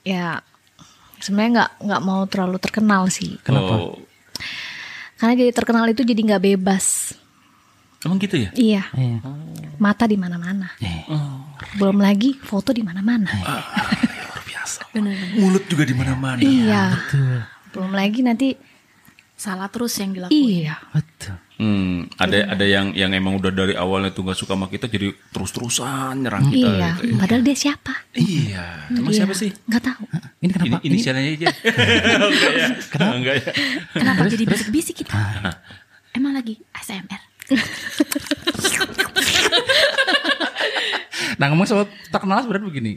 Speaker 4: Ya sebenarnya nggak nggak mau terlalu terkenal sih.
Speaker 2: Kenapa?
Speaker 3: Oh,
Speaker 4: Karena jadi terkenal itu jadi nggak bebas.
Speaker 3: Emang gitu ya?
Speaker 4: Iya.
Speaker 2: Iya.
Speaker 4: Mata di mana-mana.
Speaker 2: Eh,
Speaker 4: Belum lagi foto di mana-mana.
Speaker 2: luar biasa.
Speaker 3: Mulut juga di mana-mana.
Speaker 4: Iya. Belum lagi nanti
Speaker 1: salah terus yang dilakuin
Speaker 2: Oh,
Speaker 4: iya.
Speaker 2: Betul.
Speaker 3: Hmm, ada ada yang yang emang udah dari awalnya tuh nggak suka sama kita jadi terus-terusan nyerang kita.
Speaker 4: Iya,
Speaker 3: gitu.
Speaker 4: padahal dia siapa?
Speaker 3: Iya. Emang
Speaker 4: Iya,
Speaker 3: siapa sih?
Speaker 4: Nggak tahu.
Speaker 2: Ini kenapa?
Speaker 3: Ini inisialnya aja. Enggak ya. Enggak ya.
Speaker 1: Kenapa jadi bisik-bisik kita? Emang lagi ASMR.
Speaker 2: Nah ngomong soal terkenal sebenarnya begini.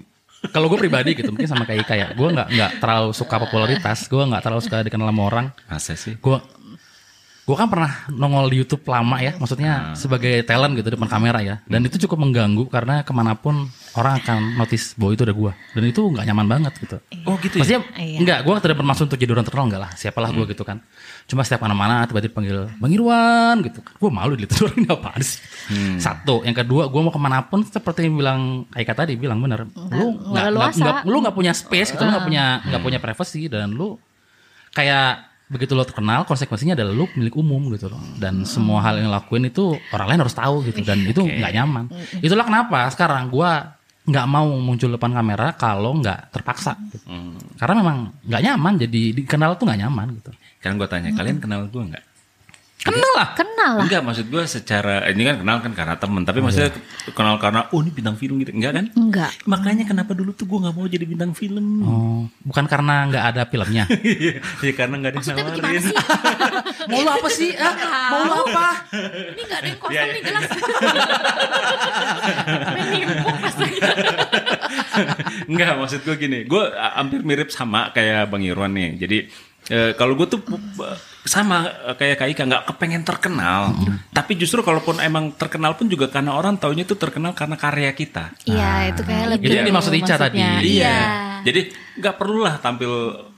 Speaker 2: Kalau gue pribadi gitu mungkin sama kayak Ika ya. Gue nggak nggak terlalu suka popularitas. Gue nggak terlalu suka dikenal sama orang.
Speaker 3: Masa Nah, sih?
Speaker 2: Gue gue kan pernah nongol di YouTube lama ya.
Speaker 4: Ah.
Speaker 2: Maksudnya sebagai talent gitu depan kamera ya.
Speaker 4: Hmm.
Speaker 2: Dan itu cukup mengganggu karena kemanapun orang akan notice bahwa itu ada gue. Dan itu nggak nyaman banget gitu.
Speaker 3: Oh gitu ya.
Speaker 2: Maksudnya
Speaker 4: Iya. Hmm.
Speaker 2: enggak, gue tidak bermaksud untuk jadi orang terkenal enggak lah. Siapalah gue gitu kan. Cuma setiap mana-mana tiba-tiba panggil Bang Irwan gitu. Gue malu dilihat orang ini apaan sih.
Speaker 4: Hmm.
Speaker 2: Satu, yang kedua gue mau kemana pun seperti yang bilang Aika tadi bilang benar. Lu
Speaker 4: Hmm. nggak
Speaker 2: nggak
Speaker 4: leluasa.
Speaker 2: nggak- lu nggak punya space gitu, lu nggak punya nggak punya privacy dan lu kayak begitu lo terkenal konsekuensinya adalah lu milik umum gitu loh dan semua hal yang lo lakuin itu orang lain harus tahu gitu dan itu nggak nyaman itulah kenapa sekarang gua nggak mau muncul depan kamera kalau nggak terpaksa gitu. karena memang nggak nyaman jadi dikenal tuh nggak nyaman gitu
Speaker 3: Kan gue tanya, kalian kenal gue nggak?
Speaker 2: kenal lah
Speaker 4: Kenal lah.
Speaker 3: Enggak, maksud gue secara ini kan kenal kan karena temen, tapi maksudnya kenal karena oh ini bintang film gitu, enggak kan?
Speaker 4: Enggak.
Speaker 3: Makanya kenapa dulu tuh gue nggak mau jadi bintang film?
Speaker 2: oh bukan karena nggak ada filmnya
Speaker 3: ya karena nggak ada yang
Speaker 1: Maksudnya
Speaker 3: nawarin.
Speaker 1: gimana sih?
Speaker 2: mau lu apa sih Ah, mau lu apa
Speaker 1: Ini gak ada yang
Speaker 2: Iya,
Speaker 1: kosong nih jelas. Main nimpuk pas lagi.
Speaker 3: Enggak, maksud gue gini. Gue a- hampir mirip sama kayak Bang Irwan nih. Jadi eh, kalau gue tuh pu- sama eh, kayak Kak Ika nggak kepengen terkenal. Tapi justru kalaupun emang terkenal pun juga karena orang taunya tuh terkenal karena karya kita.
Speaker 4: Iya, itu kayak lebih.
Speaker 2: itu yang dimaksud Ica tadi
Speaker 1: maksudnya.
Speaker 3: Iya.
Speaker 1: Iya.
Speaker 3: Jadi nggak perlulah tampil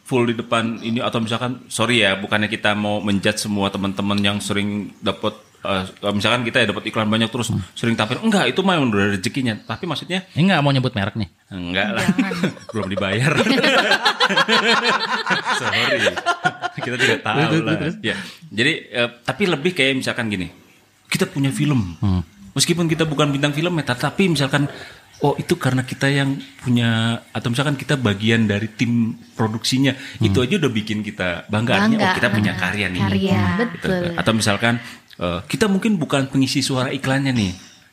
Speaker 3: full di depan ini atau misalkan sorry ya, bukannya kita mau menjudge semua teman-teman yang sering dapat eh, misalkan kita ya dapat iklan banyak terus sering tampil enggak itu mah emang udah rezekinya tapi maksudnya
Speaker 2: ini nggak mau nyebut merek nih
Speaker 3: Enggak lah, belum dibayar. Sorry, kita tidak tahu lah. Ya, jadi eh, tapi lebih kayak misalkan gini, kita punya film, meskipun kita bukan bintang film ya, tapi misalkan oh itu karena kita yang punya atau misalkan kita bagian dari tim produksinya, itu aja udah bikin kita bangga. Artinya,
Speaker 4: Bangga,
Speaker 3: oh kita punya
Speaker 4: ah,
Speaker 3: karya nih.
Speaker 4: karya,
Speaker 3: Gitu.
Speaker 4: betul.
Speaker 3: Atau misalkan eh, kita mungkin bukan pengisi suara iklannya nih,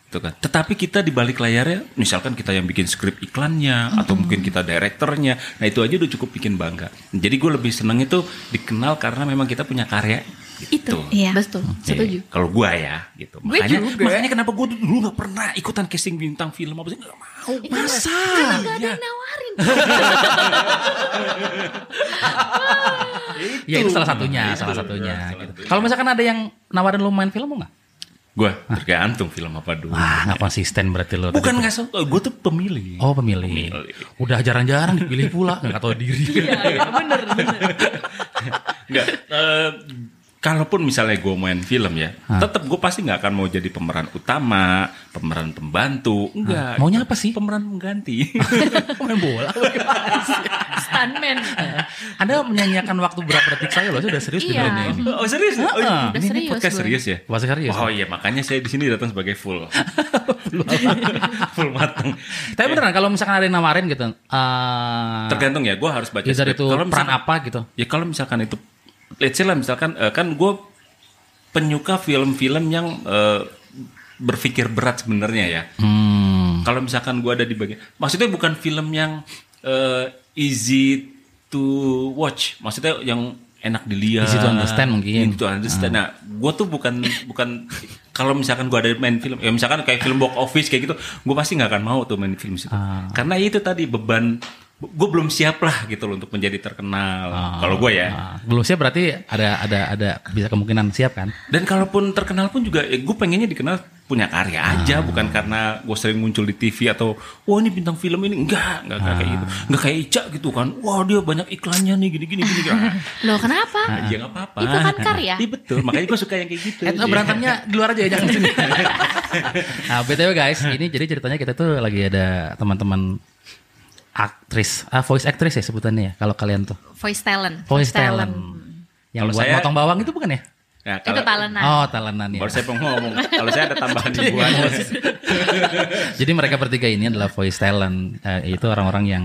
Speaker 3: gitu kan. Tetapi kita di balik layarnya, misalkan kita yang bikin skrip iklannya, atau mungkin kita direkturnya, nah itu aja udah cukup bikin bangga. Jadi gue lebih seneng itu dikenal karena memang kita punya karya.
Speaker 1: Itu.
Speaker 3: Gitu.
Speaker 4: Iya.
Speaker 1: Betul. Setuju.
Speaker 3: Iya, Kalau gua ya, gitu.
Speaker 1: Gue
Speaker 3: makanya,
Speaker 1: juga.
Speaker 3: makanya kenapa gua tuh dulu nggak pernah ikutan casting bintang film apa sih? Nggak mau.
Speaker 1: Iya.
Speaker 3: Masa?
Speaker 1: Karena gak ada
Speaker 3: Iya.
Speaker 1: yang nawarin.
Speaker 2: ya itu salah satunya
Speaker 3: Itu.
Speaker 2: salah satunya
Speaker 3: Iya, Salah
Speaker 2: gitu.
Speaker 3: satunya.
Speaker 2: kalau misalkan ada yang nawarin lu main film mau nggak
Speaker 3: Gua tergantung film apa dulu.
Speaker 1: Ah.
Speaker 2: Wah, nggak konsisten berarti lo.
Speaker 3: Bukan nggak suka, gue tuh pemilih.
Speaker 2: Oh pemilih.
Speaker 3: Pemilih. Iya.
Speaker 2: Udah jarang-jarang dipilih pula, nggak tahu diri.
Speaker 3: Nggak. eh, kalaupun misalnya gue main film ya,
Speaker 2: Ah.
Speaker 3: tetap gue pasti nggak akan mau jadi pemeran utama, pemeran pembantu, enggak.
Speaker 2: Maunya apa sih?
Speaker 3: Pemeran pengganti.
Speaker 2: Main bola.
Speaker 1: Stuntman.
Speaker 2: Anda menyanyiakan waktu berapa detik saya loh, saya udah serius
Speaker 1: Iya.
Speaker 2: dengerin ini.
Speaker 3: oh serius? Oh,
Speaker 2: Heeh.
Speaker 3: ini, ini
Speaker 1: Serius
Speaker 3: podcast
Speaker 1: gue.
Speaker 3: serius ya?
Speaker 2: Ah. Wah serius.
Speaker 3: Oh iya makanya saya di sini datang sebagai full, full matang.
Speaker 2: Tapi beneran kalau misalkan ada yang nawarin gitu, eh
Speaker 3: Tergantung ya, gue harus baca.
Speaker 2: user
Speaker 3: script.
Speaker 2: itu
Speaker 3: Kalau
Speaker 2: peran
Speaker 3: misalkan-
Speaker 2: apa gitu.
Speaker 3: Ya kalau misalkan itu, let's say lah misalkan eh, kan gue penyuka film-film yang eh, berpikir berat sebenarnya ya.
Speaker 2: Hmm.
Speaker 3: Kalau misalkan gua ada di bagian, maksudnya bukan film yang eh, easy to watch, maksudnya yang enak dilihat,
Speaker 2: Easy to understand mungkin. Ah.
Speaker 3: easy to understand. Nah, gue tuh bukan bukan kalau misalkan gua ada main film, ya misalkan kayak film box office kayak gitu, gue pasti nggak akan mau tuh main film situ,
Speaker 2: Ah.
Speaker 3: karena itu tadi beban gue belum siap lah gitu loh untuk menjadi terkenal. kalau gue ya,
Speaker 2: Ah, belum siap berarti ada ada ada bisa kemungkinan siap kan?
Speaker 3: dan kalaupun terkenal pun juga ya gue pengennya dikenal punya karya aja bukan karena gue sering muncul di TV atau wah ini bintang film ini enggak enggak, enggak kayak gitu enggak kayak Ica gitu kan wah dia banyak iklannya nih gini gini gini Ah,
Speaker 1: Loh kenapa?
Speaker 3: ya nggak apa-apa
Speaker 1: Itu kan karya.
Speaker 3: Iya, betul makanya gue suka yang kayak gitu
Speaker 2: Eh, berantemnya di luar aja ya, jangan di sini. nah, btw guys, ini jadi ceritanya kita tuh lagi ada teman-teman aktris, ah, voice actress ya sebutannya ya. Kalau kalian tuh
Speaker 1: Voice talent.
Speaker 2: voice talent, yang
Speaker 3: Kalau
Speaker 2: buat
Speaker 3: saya-
Speaker 2: motong bawang itu bukan ya?
Speaker 3: Nah, kalau,
Speaker 1: Itu talenan.
Speaker 2: Oh, talentan ya.
Speaker 3: baru saya pengen ngomong kalau saya ada tambahan
Speaker 1: Iya.
Speaker 3: ribuan
Speaker 2: Jadi mereka bertiga ini adalah voice talent, Eh, itu orang-orang yang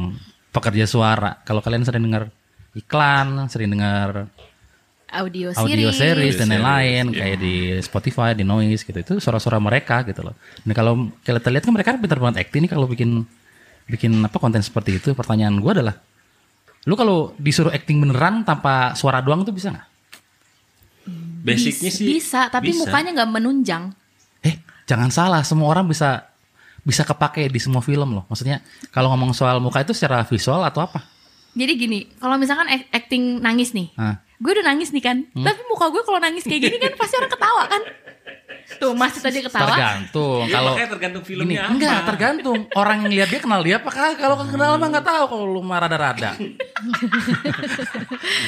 Speaker 2: pekerja suara. Kalau kalian sering dengar iklan, sering dengar
Speaker 1: audio series.
Speaker 2: audio series dan
Speaker 3: Series,
Speaker 2: lain-lain
Speaker 3: iya.
Speaker 2: kayak di Spotify, di Noise gitu. Itu suara-suara mereka gitu loh. Dan kalau kita lihat kan mereka pintar banget acting nih kalau bikin bikin apa konten seperti itu. Pertanyaan gua adalah lu kalau disuruh acting beneran tanpa suara doang tuh bisa nggak?
Speaker 3: Basicnya
Speaker 1: Bis-
Speaker 3: sih
Speaker 1: bisa, tapi
Speaker 3: bisa.
Speaker 1: mukanya nggak menunjang.
Speaker 2: Eh, jangan salah, semua orang bisa bisa kepake di semua film loh. Maksudnya kalau ngomong soal muka itu secara visual atau apa?
Speaker 1: Jadi gini, kalau misalkan act- acting nangis nih,
Speaker 2: Ah.
Speaker 1: gue udah nangis nih kan,
Speaker 2: Hmm?
Speaker 1: tapi muka gue kalau nangis kayak gini kan pasti orang ketawa kan. Tuh masih tadi ketawa.
Speaker 2: Tergantung.
Speaker 3: Iya,
Speaker 2: Kalau
Speaker 3: makanya tergantung
Speaker 2: Gini,
Speaker 3: filmnya apa. Hmm.
Speaker 2: enggak tergantung orang yang lihat dia kenal dia apa kagak kalau nggak kenal mah nggak tahu kalau lu mah rada-rada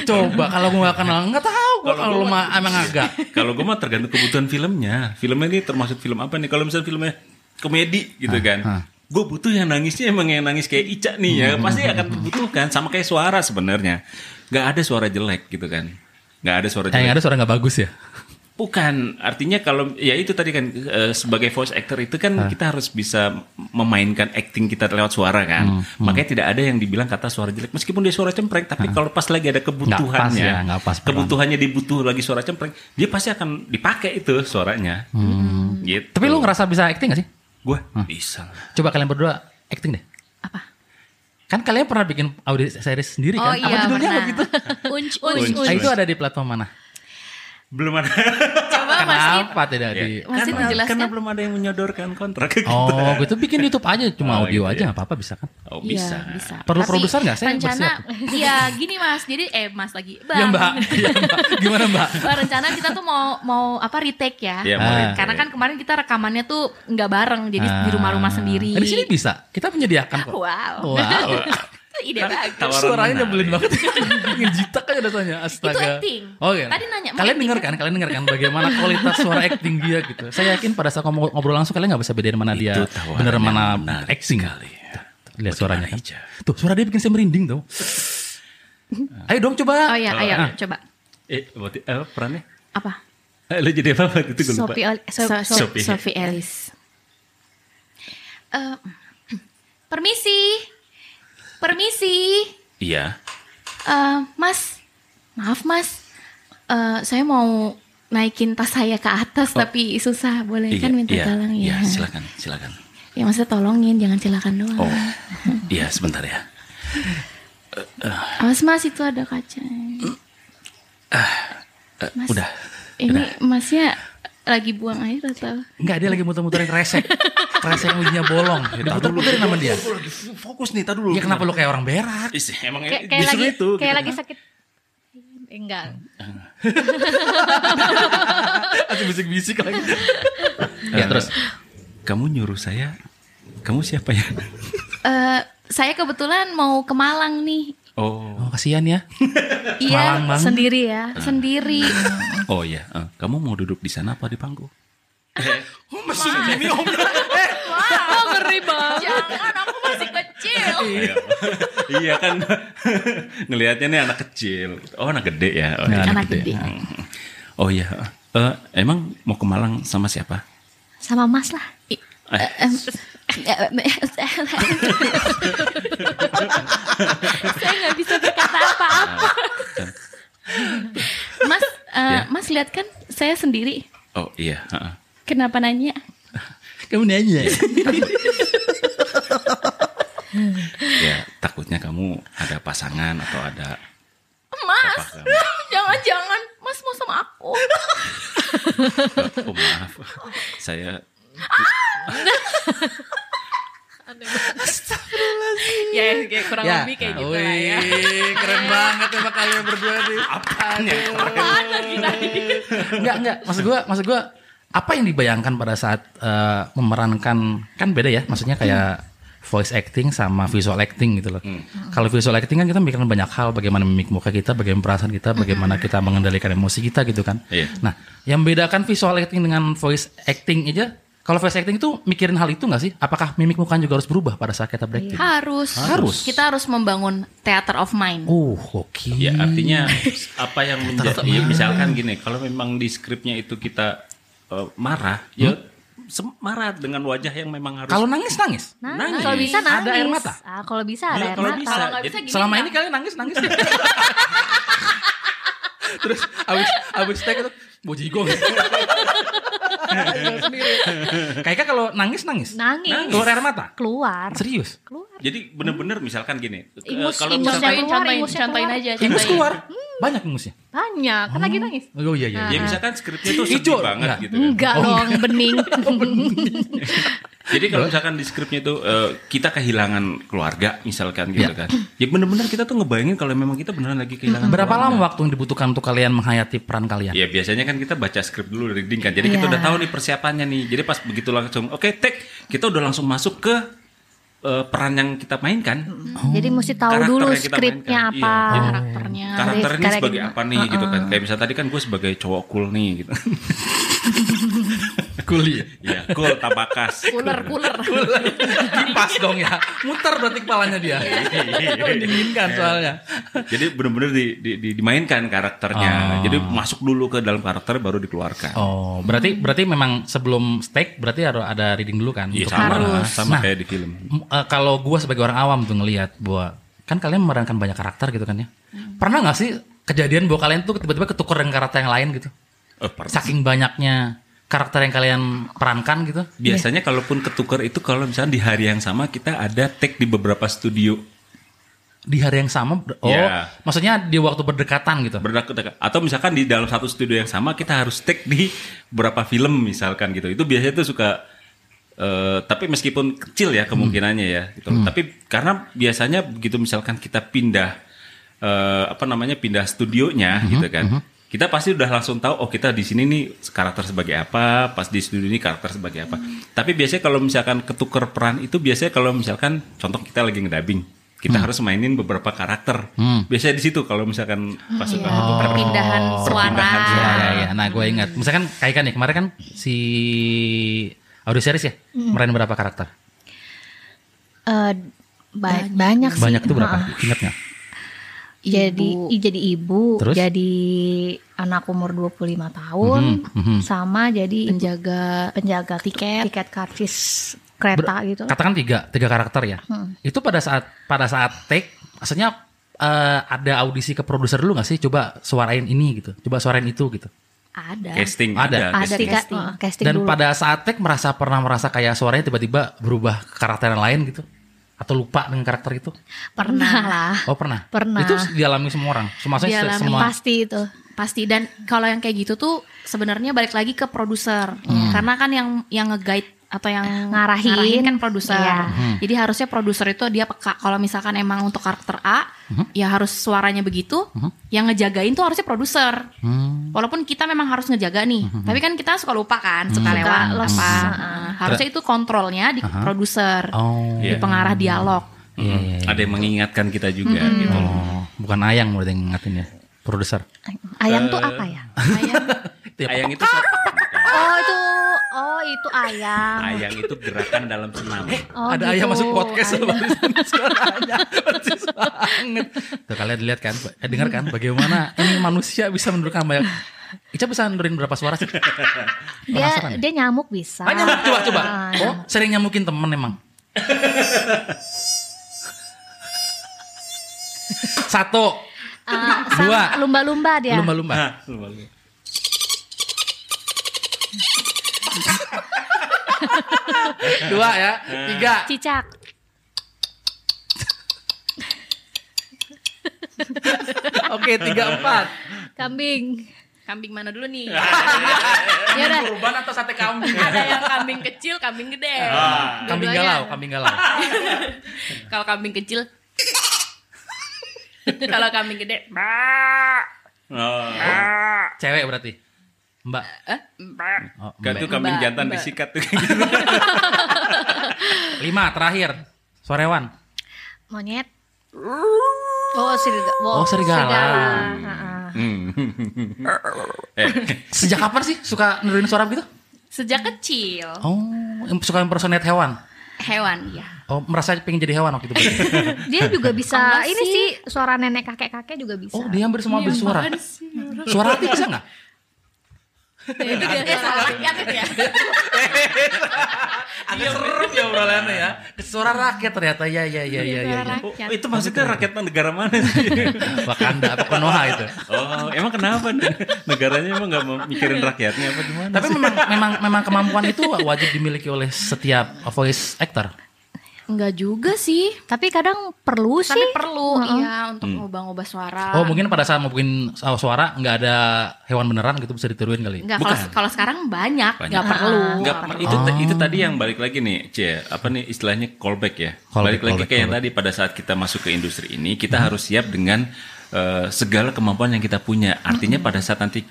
Speaker 2: coba kalau gua nggak kenal nggak tahu gua kalau lu mah emang agak
Speaker 3: Kalau gue mah tergantung kebutuhan filmnya. Filmnya ini termasuk film apa nih? Kalau misalnya filmnya komedi gitu kan.
Speaker 2: hah.
Speaker 3: Gue butuh yang nangisnya emang yang nangis kayak Ica nih ya. Pasti akan dibutuhkan sama kayak suara sebenarnya. Gak ada suara jelek gitu kan. Gak ada suara
Speaker 2: yang
Speaker 3: jelek.
Speaker 2: ada suara nggak bagus ya
Speaker 3: Bukan, artinya kalau ya itu tadi kan eh, sebagai voice actor itu kan kita harus bisa memainkan acting kita lewat suara
Speaker 2: Hmm,
Speaker 3: kan. Makanya tidak ada yang dibilang kata suara jelek meskipun dia suara cempreng, tapi kalau pas lagi ada kebutuhannya,
Speaker 2: Nggak pas ya, nggak pas peran.
Speaker 3: kebutuhannya dibutuh lagi suara cempreng, dia pasti akan dipakai itu suaranya.
Speaker 2: Hmm.
Speaker 3: Gitu.
Speaker 2: tapi lu ngerasa bisa acting gak sih
Speaker 3: gue bisa.
Speaker 2: coba kalian berdua acting deh
Speaker 1: Apa?
Speaker 2: kan kalian pernah bikin audio series sendiri
Speaker 1: Oh
Speaker 2: kan apa
Speaker 1: iya,
Speaker 2: judulnya
Speaker 1: pernah.
Speaker 2: begitu
Speaker 1: Unc, unc,
Speaker 3: Unc.
Speaker 1: unc.
Speaker 2: Nah, itu ada di platform mana
Speaker 3: Belum ada.
Speaker 1: Coba Oh, masih
Speaker 2: kenapa tidak
Speaker 1: Masih
Speaker 2: di
Speaker 3: Ya, karena,
Speaker 1: menjelaskan?
Speaker 3: karena belum ada yang menyodorkan kontrak ke kita.
Speaker 2: oh gitu bikin YouTube aja cuma
Speaker 3: Oh,
Speaker 2: audio aja
Speaker 3: gitu ya.
Speaker 2: nggak apa-apa bisa kan
Speaker 3: Oh,
Speaker 1: Iya,
Speaker 3: bisa.
Speaker 2: Perlu produser nggak? Saya
Speaker 1: rencana, Iya gini mas. Jadi eh mas lagi. Bang.
Speaker 2: ya mbak ya, mbak gimana mbak
Speaker 1: Wah, rencana kita tuh mau mau apa retake ya.
Speaker 3: Iya, mau
Speaker 2: Ah.
Speaker 3: retake.
Speaker 1: Karena kan kemarin kita rekamannya tuh nggak bareng, jadi di
Speaker 2: Ah.
Speaker 1: rumah-rumah sendiri.
Speaker 2: Di sini bisa. Kita menyediakan kok.
Speaker 1: Wow.
Speaker 2: Wow.
Speaker 1: Itu ide bagus.
Speaker 3: Tawa- Tawaran
Speaker 2: Suaranya
Speaker 3: menarik.
Speaker 2: nyebelin banget. Ingin jitak aja rasanya. Astaga.
Speaker 1: Itu acting.
Speaker 2: Oh iya.
Speaker 1: Tadi nanya, mau
Speaker 2: Kalian
Speaker 1: acting
Speaker 2: dengar kan? Kalian dengar kan bagaimana kualitas suara acting dia gitu. Saya yakin pada saat ngomong- ngobrol langsung kalian nggak bisa bedain mana dia
Speaker 3: Itu tawaran
Speaker 2: bener
Speaker 3: yang
Speaker 2: mana
Speaker 3: menarik
Speaker 2: acting kali. Lihat suaranya kan.
Speaker 3: Ica?
Speaker 2: Tuh suara dia bikin saya merinding tuh. Ayo dong coba.
Speaker 1: Oh iya, ayo
Speaker 2: Ah.
Speaker 1: coba.
Speaker 3: Eh, berarti eh, perannya?
Speaker 1: Apa?
Speaker 3: Eh, lu jadi apa? Itu gue lupa.
Speaker 4: Sophie Oli- So-
Speaker 1: So-
Speaker 4: So-
Speaker 1: So-
Speaker 3: Sophie.
Speaker 1: Sophie Ellis. Eh, permisi. Permisi.
Speaker 3: Iya.
Speaker 1: Eh, mas, maaf mas. Eh, saya mau naikin tas saya ke atas tapi susah. Boleh kan minta tolong ya?
Speaker 3: Oh. Iya, silakan, silakan.
Speaker 1: Ya maksudnya tolongin, jangan silakan doang.
Speaker 3: Oh, iya sebentar ya.
Speaker 1: Awas mas itu ada kaca.
Speaker 3: Eh,
Speaker 1: Mas,
Speaker 3: Udah.
Speaker 1: Ini masnya lagi buang air atau?
Speaker 2: Enggak dia lagi muter-muterin resek. resek yang ujungnya bolong. Diputer-puterin sama dia.
Speaker 3: Gue lagi fokus nih, tadi dulu.
Speaker 2: Ya kenapa lu kayak orang berak?
Speaker 3: Is, emang
Speaker 4: Kayak
Speaker 3: eh,
Speaker 4: kayak
Speaker 3: justru
Speaker 4: lagi
Speaker 3: itu.
Speaker 4: kayak
Speaker 3: gitu.
Speaker 4: lagi sakit. Eh, Enggak.
Speaker 2: Atau bisik-bisik lagi. ya terus.
Speaker 3: Nah, Kamu nyuruh saya, kamu siapa ya?
Speaker 1: Eh, saya kebetulan mau ke Malang nih.
Speaker 3: Oh,
Speaker 2: Oh kasihan ya.
Speaker 1: Iya,
Speaker 2: Malang banget.
Speaker 4: Sendiri ya.
Speaker 1: sendiri.
Speaker 3: oh iya. Eh, kamu mau duduk di sana apa di pangku?
Speaker 2: Oh, mesin ini om.
Speaker 1: Wah, ngeri banget. Jangan, aku masih kecil.
Speaker 3: iya kan ngelihatnya nih anak kecil. Oh anak gede ya. Oh, iya.
Speaker 1: Anak gede.
Speaker 3: Oh iya. Eh, emang mau ke Malang sama siapa?
Speaker 4: Sama Mas lah.
Speaker 3: Eh,
Speaker 1: Em, saya nggak bisa berkata apa-apa. Mas, eh,
Speaker 3: Ya.
Speaker 1: Mas lihat kan saya sendiri.
Speaker 3: oh iya. heeh.
Speaker 1: Kenapa nanya?
Speaker 2: Kamu nanya.
Speaker 3: ya takutnya kamu ada pasangan atau ada
Speaker 1: Mas,
Speaker 3: Apa
Speaker 1: jangan-jangan Mas mau sama aku.
Speaker 3: oh maaf saya
Speaker 1: ya, kayak kurang lebih
Speaker 2: Ah,
Speaker 1: kayak gitu lah ya.
Speaker 2: Wih, keren banget emang kalian berdua nih.
Speaker 3: apanya
Speaker 1: Apaan lagi tadi?
Speaker 2: Enggak, enggak. Maksud gua, maksud gua apa yang dibayangkan pada saat eh, memerankan kan beda ya. Maksudnya kayak voice acting sama visual acting gitu loh.
Speaker 3: Hmm.
Speaker 2: Kalau visual acting kan kita mikirin banyak hal, bagaimana mimik muka kita, bagaimana perasaan kita, bagaimana kita mengendalikan emosi kita gitu kan.
Speaker 3: Iya.
Speaker 2: Nah, yang bedakan visual acting dengan voice acting aja, kalau voice acting itu mikirin hal itu nggak sih? Apakah mimik muka juga harus berubah pada saat kita berakting?
Speaker 1: Harus.
Speaker 2: Harus.
Speaker 1: Kita harus membangun theater of mind.
Speaker 2: Oh, oke.
Speaker 3: ya artinya apa yang menjadi ya, misalkan gini kalau memang di skripnya itu kita eh, marah ya sem- marah dengan wajah yang memang harus
Speaker 2: Kalau nangis nangis.
Speaker 4: Nah,
Speaker 3: Nangis.
Speaker 4: kalau bisa nangis.
Speaker 2: Ada air mata?
Speaker 4: Ah, kalau bisa ada
Speaker 3: Iya,
Speaker 4: air
Speaker 3: kalau
Speaker 4: mata.
Speaker 3: bisa.
Speaker 1: Kalau nggak bisa
Speaker 3: Jadi-
Speaker 1: gini
Speaker 2: Selama
Speaker 1: nggak?
Speaker 2: ini kalian nangis nangis. Terus abis abis tag itu bojigong. Sendiri. Kayaknya kalau nangis nangis.
Speaker 4: Nangis.
Speaker 2: Keluar air mata.
Speaker 4: Keluar.
Speaker 2: Serius.
Speaker 4: Keluar.
Speaker 3: Jadi bener-bener misalkan gini. eh,
Speaker 4: Ingus-
Speaker 3: kalau
Speaker 4: ingus
Speaker 3: misalkan,
Speaker 1: Contohin,
Speaker 4: yang- keluar,
Speaker 1: contohin,
Speaker 4: ingusnya
Speaker 1: contohin
Speaker 4: keluar.
Speaker 1: aja.
Speaker 2: Ingus
Speaker 1: contohin.
Speaker 2: keluar. Banyak ingusnya.
Speaker 4: Banyak. Kan lagi nangis.
Speaker 2: Oh iya iya.
Speaker 3: ya
Speaker 2: iya.
Speaker 3: misalkan skripnya tuh sedih
Speaker 2: Hijau.
Speaker 3: banget
Speaker 2: Enggak.
Speaker 3: gitu. kan.
Speaker 4: Enggak
Speaker 2: Oh,
Speaker 4: dong, bening.
Speaker 3: Jadi kalau misalkan di skripnya itu eh, kita kehilangan keluarga misalkan gitu kan. Ya bener-bener kita tuh ngebayangin kalau memang kita beneran lagi kehilangan.
Speaker 2: Berapa
Speaker 3: keluarga.
Speaker 2: lama waktu yang dibutuhkan untuk kalian menghayati peran kalian?
Speaker 3: Ya biasanya kan kita baca skrip dulu reading kan. Jadi kita
Speaker 4: Iya.
Speaker 3: udah tahu nih persiapannya nih. Jadi pas begitu langsung oke take kita udah langsung masuk ke eh, peran yang kita mainkan.
Speaker 4: Jadi mesti tahu
Speaker 3: Karakter
Speaker 4: dulu
Speaker 3: yang kita
Speaker 4: skripnya
Speaker 3: mainkan.
Speaker 4: apa.
Speaker 3: Iya.
Speaker 1: Karakternya.
Speaker 3: Karakter ini
Speaker 4: kayak
Speaker 3: sebagai
Speaker 4: gimana?
Speaker 3: apa nih gitu kan. Kayak misalnya tadi kan gue sebagai cowok cool nih gitu.
Speaker 2: Kuliah.
Speaker 3: Iya, cool tabakas. Gitu.
Speaker 1: Cooler, cooler.
Speaker 2: Kipas dong ya. Muter berarti kepalanya dia.
Speaker 3: Iya,
Speaker 2: Dinginkan soalnya.
Speaker 3: Jadi bener-bener di, di- di- dimainkan karakternya. Jadi masuk dulu ke dalam karakter baru dikeluarkan.
Speaker 2: Oh, berarti berarti memang sebelum steak berarti harus ada reading dulu kan?
Speaker 3: Iya
Speaker 2: untuk
Speaker 3: sama
Speaker 2: peran.
Speaker 3: lah, sama
Speaker 2: Nah,
Speaker 3: kayak di film.
Speaker 2: M- eh, kalau gua sebagai orang awam tuh ngelihat bahwa kan kalian memerankan banyak karakter gitu kan ya. Pernah nggak sih kejadian bahwa kalian tuh tiba-tiba ketukar dengan karakter yang lain gitu?
Speaker 3: Eh, per-
Speaker 2: Saking banyaknya karakter yang kalian perankan gitu.
Speaker 3: Biasanya kalaupun ketukar itu kalau misalnya di hari yang sama kita ada take di beberapa studio
Speaker 2: Di hari yang sama ber- oh,
Speaker 3: Iya.
Speaker 2: maksudnya di waktu berdekatan gitu.
Speaker 3: berdekat atau misalkan di dalam satu studio yang sama kita harus take di berapa film misalkan gitu itu biasanya tuh suka eh, tapi meskipun kecil ya kemungkinannya ya gitu tapi karena biasanya begitu misalkan kita pindah eh, apa namanya pindah studionya gitu kan kita pasti udah langsung tahu oh kita di sini nih karakter sebagai apa pas di studio ini karakter sebagai apa tapi biasanya kalau misalkan ketuker peran itu biasanya kalau misalkan contoh kita lagi ngedabing kita harus mainin beberapa karakter biasanya di situ kalau misalkan pas
Speaker 1: Iya.
Speaker 3: suka ketuker
Speaker 1: Perpindahan suara.
Speaker 3: Oh. perpindahan suara.
Speaker 2: Iya, iya. Nah, gue ingat. Misalkan kayak kan ya kemarin kan si audio series ya, meranin berapa karakter?
Speaker 4: Eh, ba- banyak, sih. Ah.
Speaker 2: Banyak tuh berapa?
Speaker 4: Maaf.
Speaker 2: Ingat nggak?
Speaker 4: Jadi
Speaker 1: Ibu.
Speaker 4: i- jadi ibu,
Speaker 2: Terus?
Speaker 4: jadi anak umur 25 tahun,
Speaker 2: Mhm,
Speaker 4: sama jadi ibu-
Speaker 1: Penjaga
Speaker 4: penjaga tiket, tiket karcis kereta gitu. Hmm.
Speaker 2: Katakan tiga, tiga karakter ya. Itu pada saat pada saat take, maksudnya eh, ada audisi ke produser dulu nggak sih? Coba suarain ini gitu, coba suarain itu gitu.
Speaker 4: Ada.
Speaker 3: casting
Speaker 2: Ada.
Speaker 4: ada
Speaker 3: casting.
Speaker 4: casting,
Speaker 1: casting.
Speaker 4: Heeh, casting
Speaker 2: Dan
Speaker 4: dulu.
Speaker 2: pada saat take merasa pernah merasa kayak suaranya tiba-tiba berubah ke karakter yang lain gitu, atau lupa dengan karakter itu?
Speaker 4: pernah
Speaker 1: Nah.
Speaker 4: lah.
Speaker 2: Oh pernah.
Speaker 4: Pernah.
Speaker 2: Itu dialami semua orang, semua maksudnya
Speaker 1: Dialami.
Speaker 2: semua.
Speaker 4: Pasti itu.
Speaker 1: Pasti dan kalau yang kayak gitu tuh sebenarnya balik lagi ke produser.
Speaker 3: Hmm.
Speaker 1: Karena kan yang yang nge-guide atau yang
Speaker 4: Ngarahin.
Speaker 1: kan produser.
Speaker 4: Iya.
Speaker 3: Hmm.
Speaker 1: Jadi harusnya produser itu dia peka kalau misalkan emang untuk karakter A
Speaker 3: Hmm.
Speaker 1: ya harus suaranya begitu. Yang ngejagain tuh harusnya produser.
Speaker 2: Hmm.
Speaker 1: Walaupun kita memang harus ngejaga nih,
Speaker 3: Hmm.
Speaker 1: tapi kan kita suka lupa kan, suka lewat
Speaker 4: Suka los.
Speaker 1: apa.
Speaker 4: Hmm.
Speaker 1: Nah, Harusnya itu kontrolnya di produser,
Speaker 2: Oh.
Speaker 1: di
Speaker 3: Iya.
Speaker 1: pengarah dialog.
Speaker 2: Iya, iya, iya.
Speaker 3: Hmm. ada yang mengingatkan kita juga gitu loh.
Speaker 2: Oh, bukan ayang menurut yang ngingatin ya, produser.
Speaker 4: Ayang tuh apa ya?
Speaker 2: Eh. Tiap
Speaker 3: Ayang itu satu-
Speaker 4: Oh itu, oh itu ayang.
Speaker 3: ayang itu gerakan dalam senam.
Speaker 4: Oh,
Speaker 2: ada ayam
Speaker 4: gitu.
Speaker 2: masuk podcast
Speaker 4: Ayang.
Speaker 2: sama suaranya persis banget. Tuh kalian lihat kan, eh, dengar kan bagaimana ini manusia bisa menurunkan banyak. Ica bisa nurunin berapa suara sih?
Speaker 4: Dia
Speaker 2: Penasaran ya?
Speaker 4: dia nyamuk bisa.
Speaker 2: Ah, nyamuk coba coba.
Speaker 4: Ah,
Speaker 2: Oh, sering nyamukin temen emang. Satu,
Speaker 4: ah, sama
Speaker 2: Dua.
Speaker 4: Lumba-lumba dia.
Speaker 2: lumba-lumba. Dua ya, tiga.
Speaker 4: Cicak.
Speaker 2: Oke, tiga empat.
Speaker 4: Kambing.
Speaker 1: Kambing mana dulu nih?
Speaker 4: Ya udah.
Speaker 2: Kurban atau sate kambing?
Speaker 1: Ada yang kambing kecil, kambing gede.
Speaker 2: Kambing
Speaker 1: Dua-duanya.
Speaker 2: galau, kambing galau.
Speaker 1: Kalau kambing kecil Kalau kambing gede "Baa,
Speaker 3: Oh.
Speaker 1: baa,
Speaker 2: Cewek berarti. Mbak.
Speaker 1: eh, baa."
Speaker 2: Oh, mbak.
Speaker 3: Kan tuh kambing
Speaker 1: Mbak,
Speaker 3: jantan
Speaker 1: mbak.
Speaker 3: disikat tuh kayak gitu.
Speaker 2: Lima terakhir. Sorewan.
Speaker 4: Monyet. Oh, serigala.
Speaker 2: Oh, serigala.
Speaker 4: Heeh.
Speaker 3: Eh,
Speaker 2: Sejak kapan sih suka niruin suara gitu?
Speaker 1: Sejak kecil
Speaker 2: Oh, em- suka impersonate hewan.
Speaker 1: Hewan ya
Speaker 2: Oh, merasa pengen jadi hewan waktu itu.
Speaker 4: Dia juga bisa.
Speaker 1: Enggak
Speaker 4: ini
Speaker 1: sih.
Speaker 4: sih suara nenek kakek kakek juga bisa.
Speaker 2: Oh, dia hampir semua ambil suara. Suara hati bisa nggak?
Speaker 1: itu biasanya Iya, salah rakyat itu ya.
Speaker 2: Agak serem ya obrolannya ya. Suara rakyat ternyata ya ya ya ya ya. ya.
Speaker 3: Oh, itu maksudnya rakyat negara mana sih?
Speaker 2: Wakanda atau Konoha itu.
Speaker 3: Oh, emang kenapa? nih? Negaranya emang nggak mau mikirin rakyatnya apa gimana?
Speaker 2: Tapi memang memang memang kemampuan itu wajib dimiliki oleh setiap voice actor.
Speaker 1: Enggak juga sih.
Speaker 4: Tapi kadang perlu sih.
Speaker 1: Tapi perlu iya untuk
Speaker 3: Hmm.
Speaker 1: ngubah-ngubah suara.
Speaker 2: Oh mungkin pada saat mau bikin suara nggak ada hewan beneran gitu bisa ditiruin kali.
Speaker 1: Enggak kalau
Speaker 3: Bukan.
Speaker 1: kalau sekarang banyak,
Speaker 3: Banyak.
Speaker 1: enggak perlu.
Speaker 3: Nggak, itu itu tadi yang balik lagi nih, C. Apa nih istilahnya callback ya?
Speaker 2: Callback,
Speaker 3: balik lagi
Speaker 2: callback,
Speaker 3: kayak yang tadi pada saat kita masuk ke industri ini, kita harus siap dengan eh, segala kemampuan yang kita punya. Artinya pada saat nanti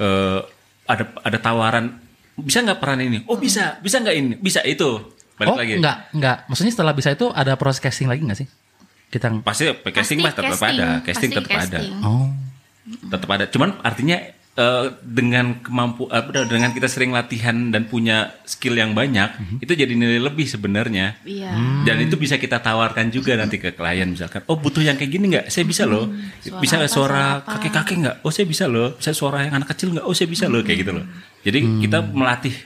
Speaker 3: eh, ada ada tawaran bisa nggak peran ini? Oh bisa, bisa nggak ini? Bisa itu.
Speaker 2: oh
Speaker 3: Balik lagi.
Speaker 2: enggak enggak. Maksudnya setelah bisa itu ada proses casting lagi nggak sih? Kita
Speaker 3: Pasti casting mas tetap ada, casting
Speaker 1: Pasti
Speaker 3: tetap ada. Hmm.
Speaker 1: casting.
Speaker 2: oh
Speaker 3: tetap ada. Cuman artinya eh, dengan kemampuan dengan kita sering latihan dan punya skill yang banyak, itu jadi nilai lebih sebenarnya.
Speaker 1: Iya.
Speaker 3: Dan itu bisa kita tawarkan juga nanti ke klien misalkan, "Oh, butuh yang kayak gini nggak? Saya bisa loh.
Speaker 1: Hmm.
Speaker 3: bisa suara kakek-kakek nggak? Oh, saya bisa loh. Bisa suara yang anak kecil nggak? Oh, saya bisa loh." Kayak gitu loh. Jadi kita melatih.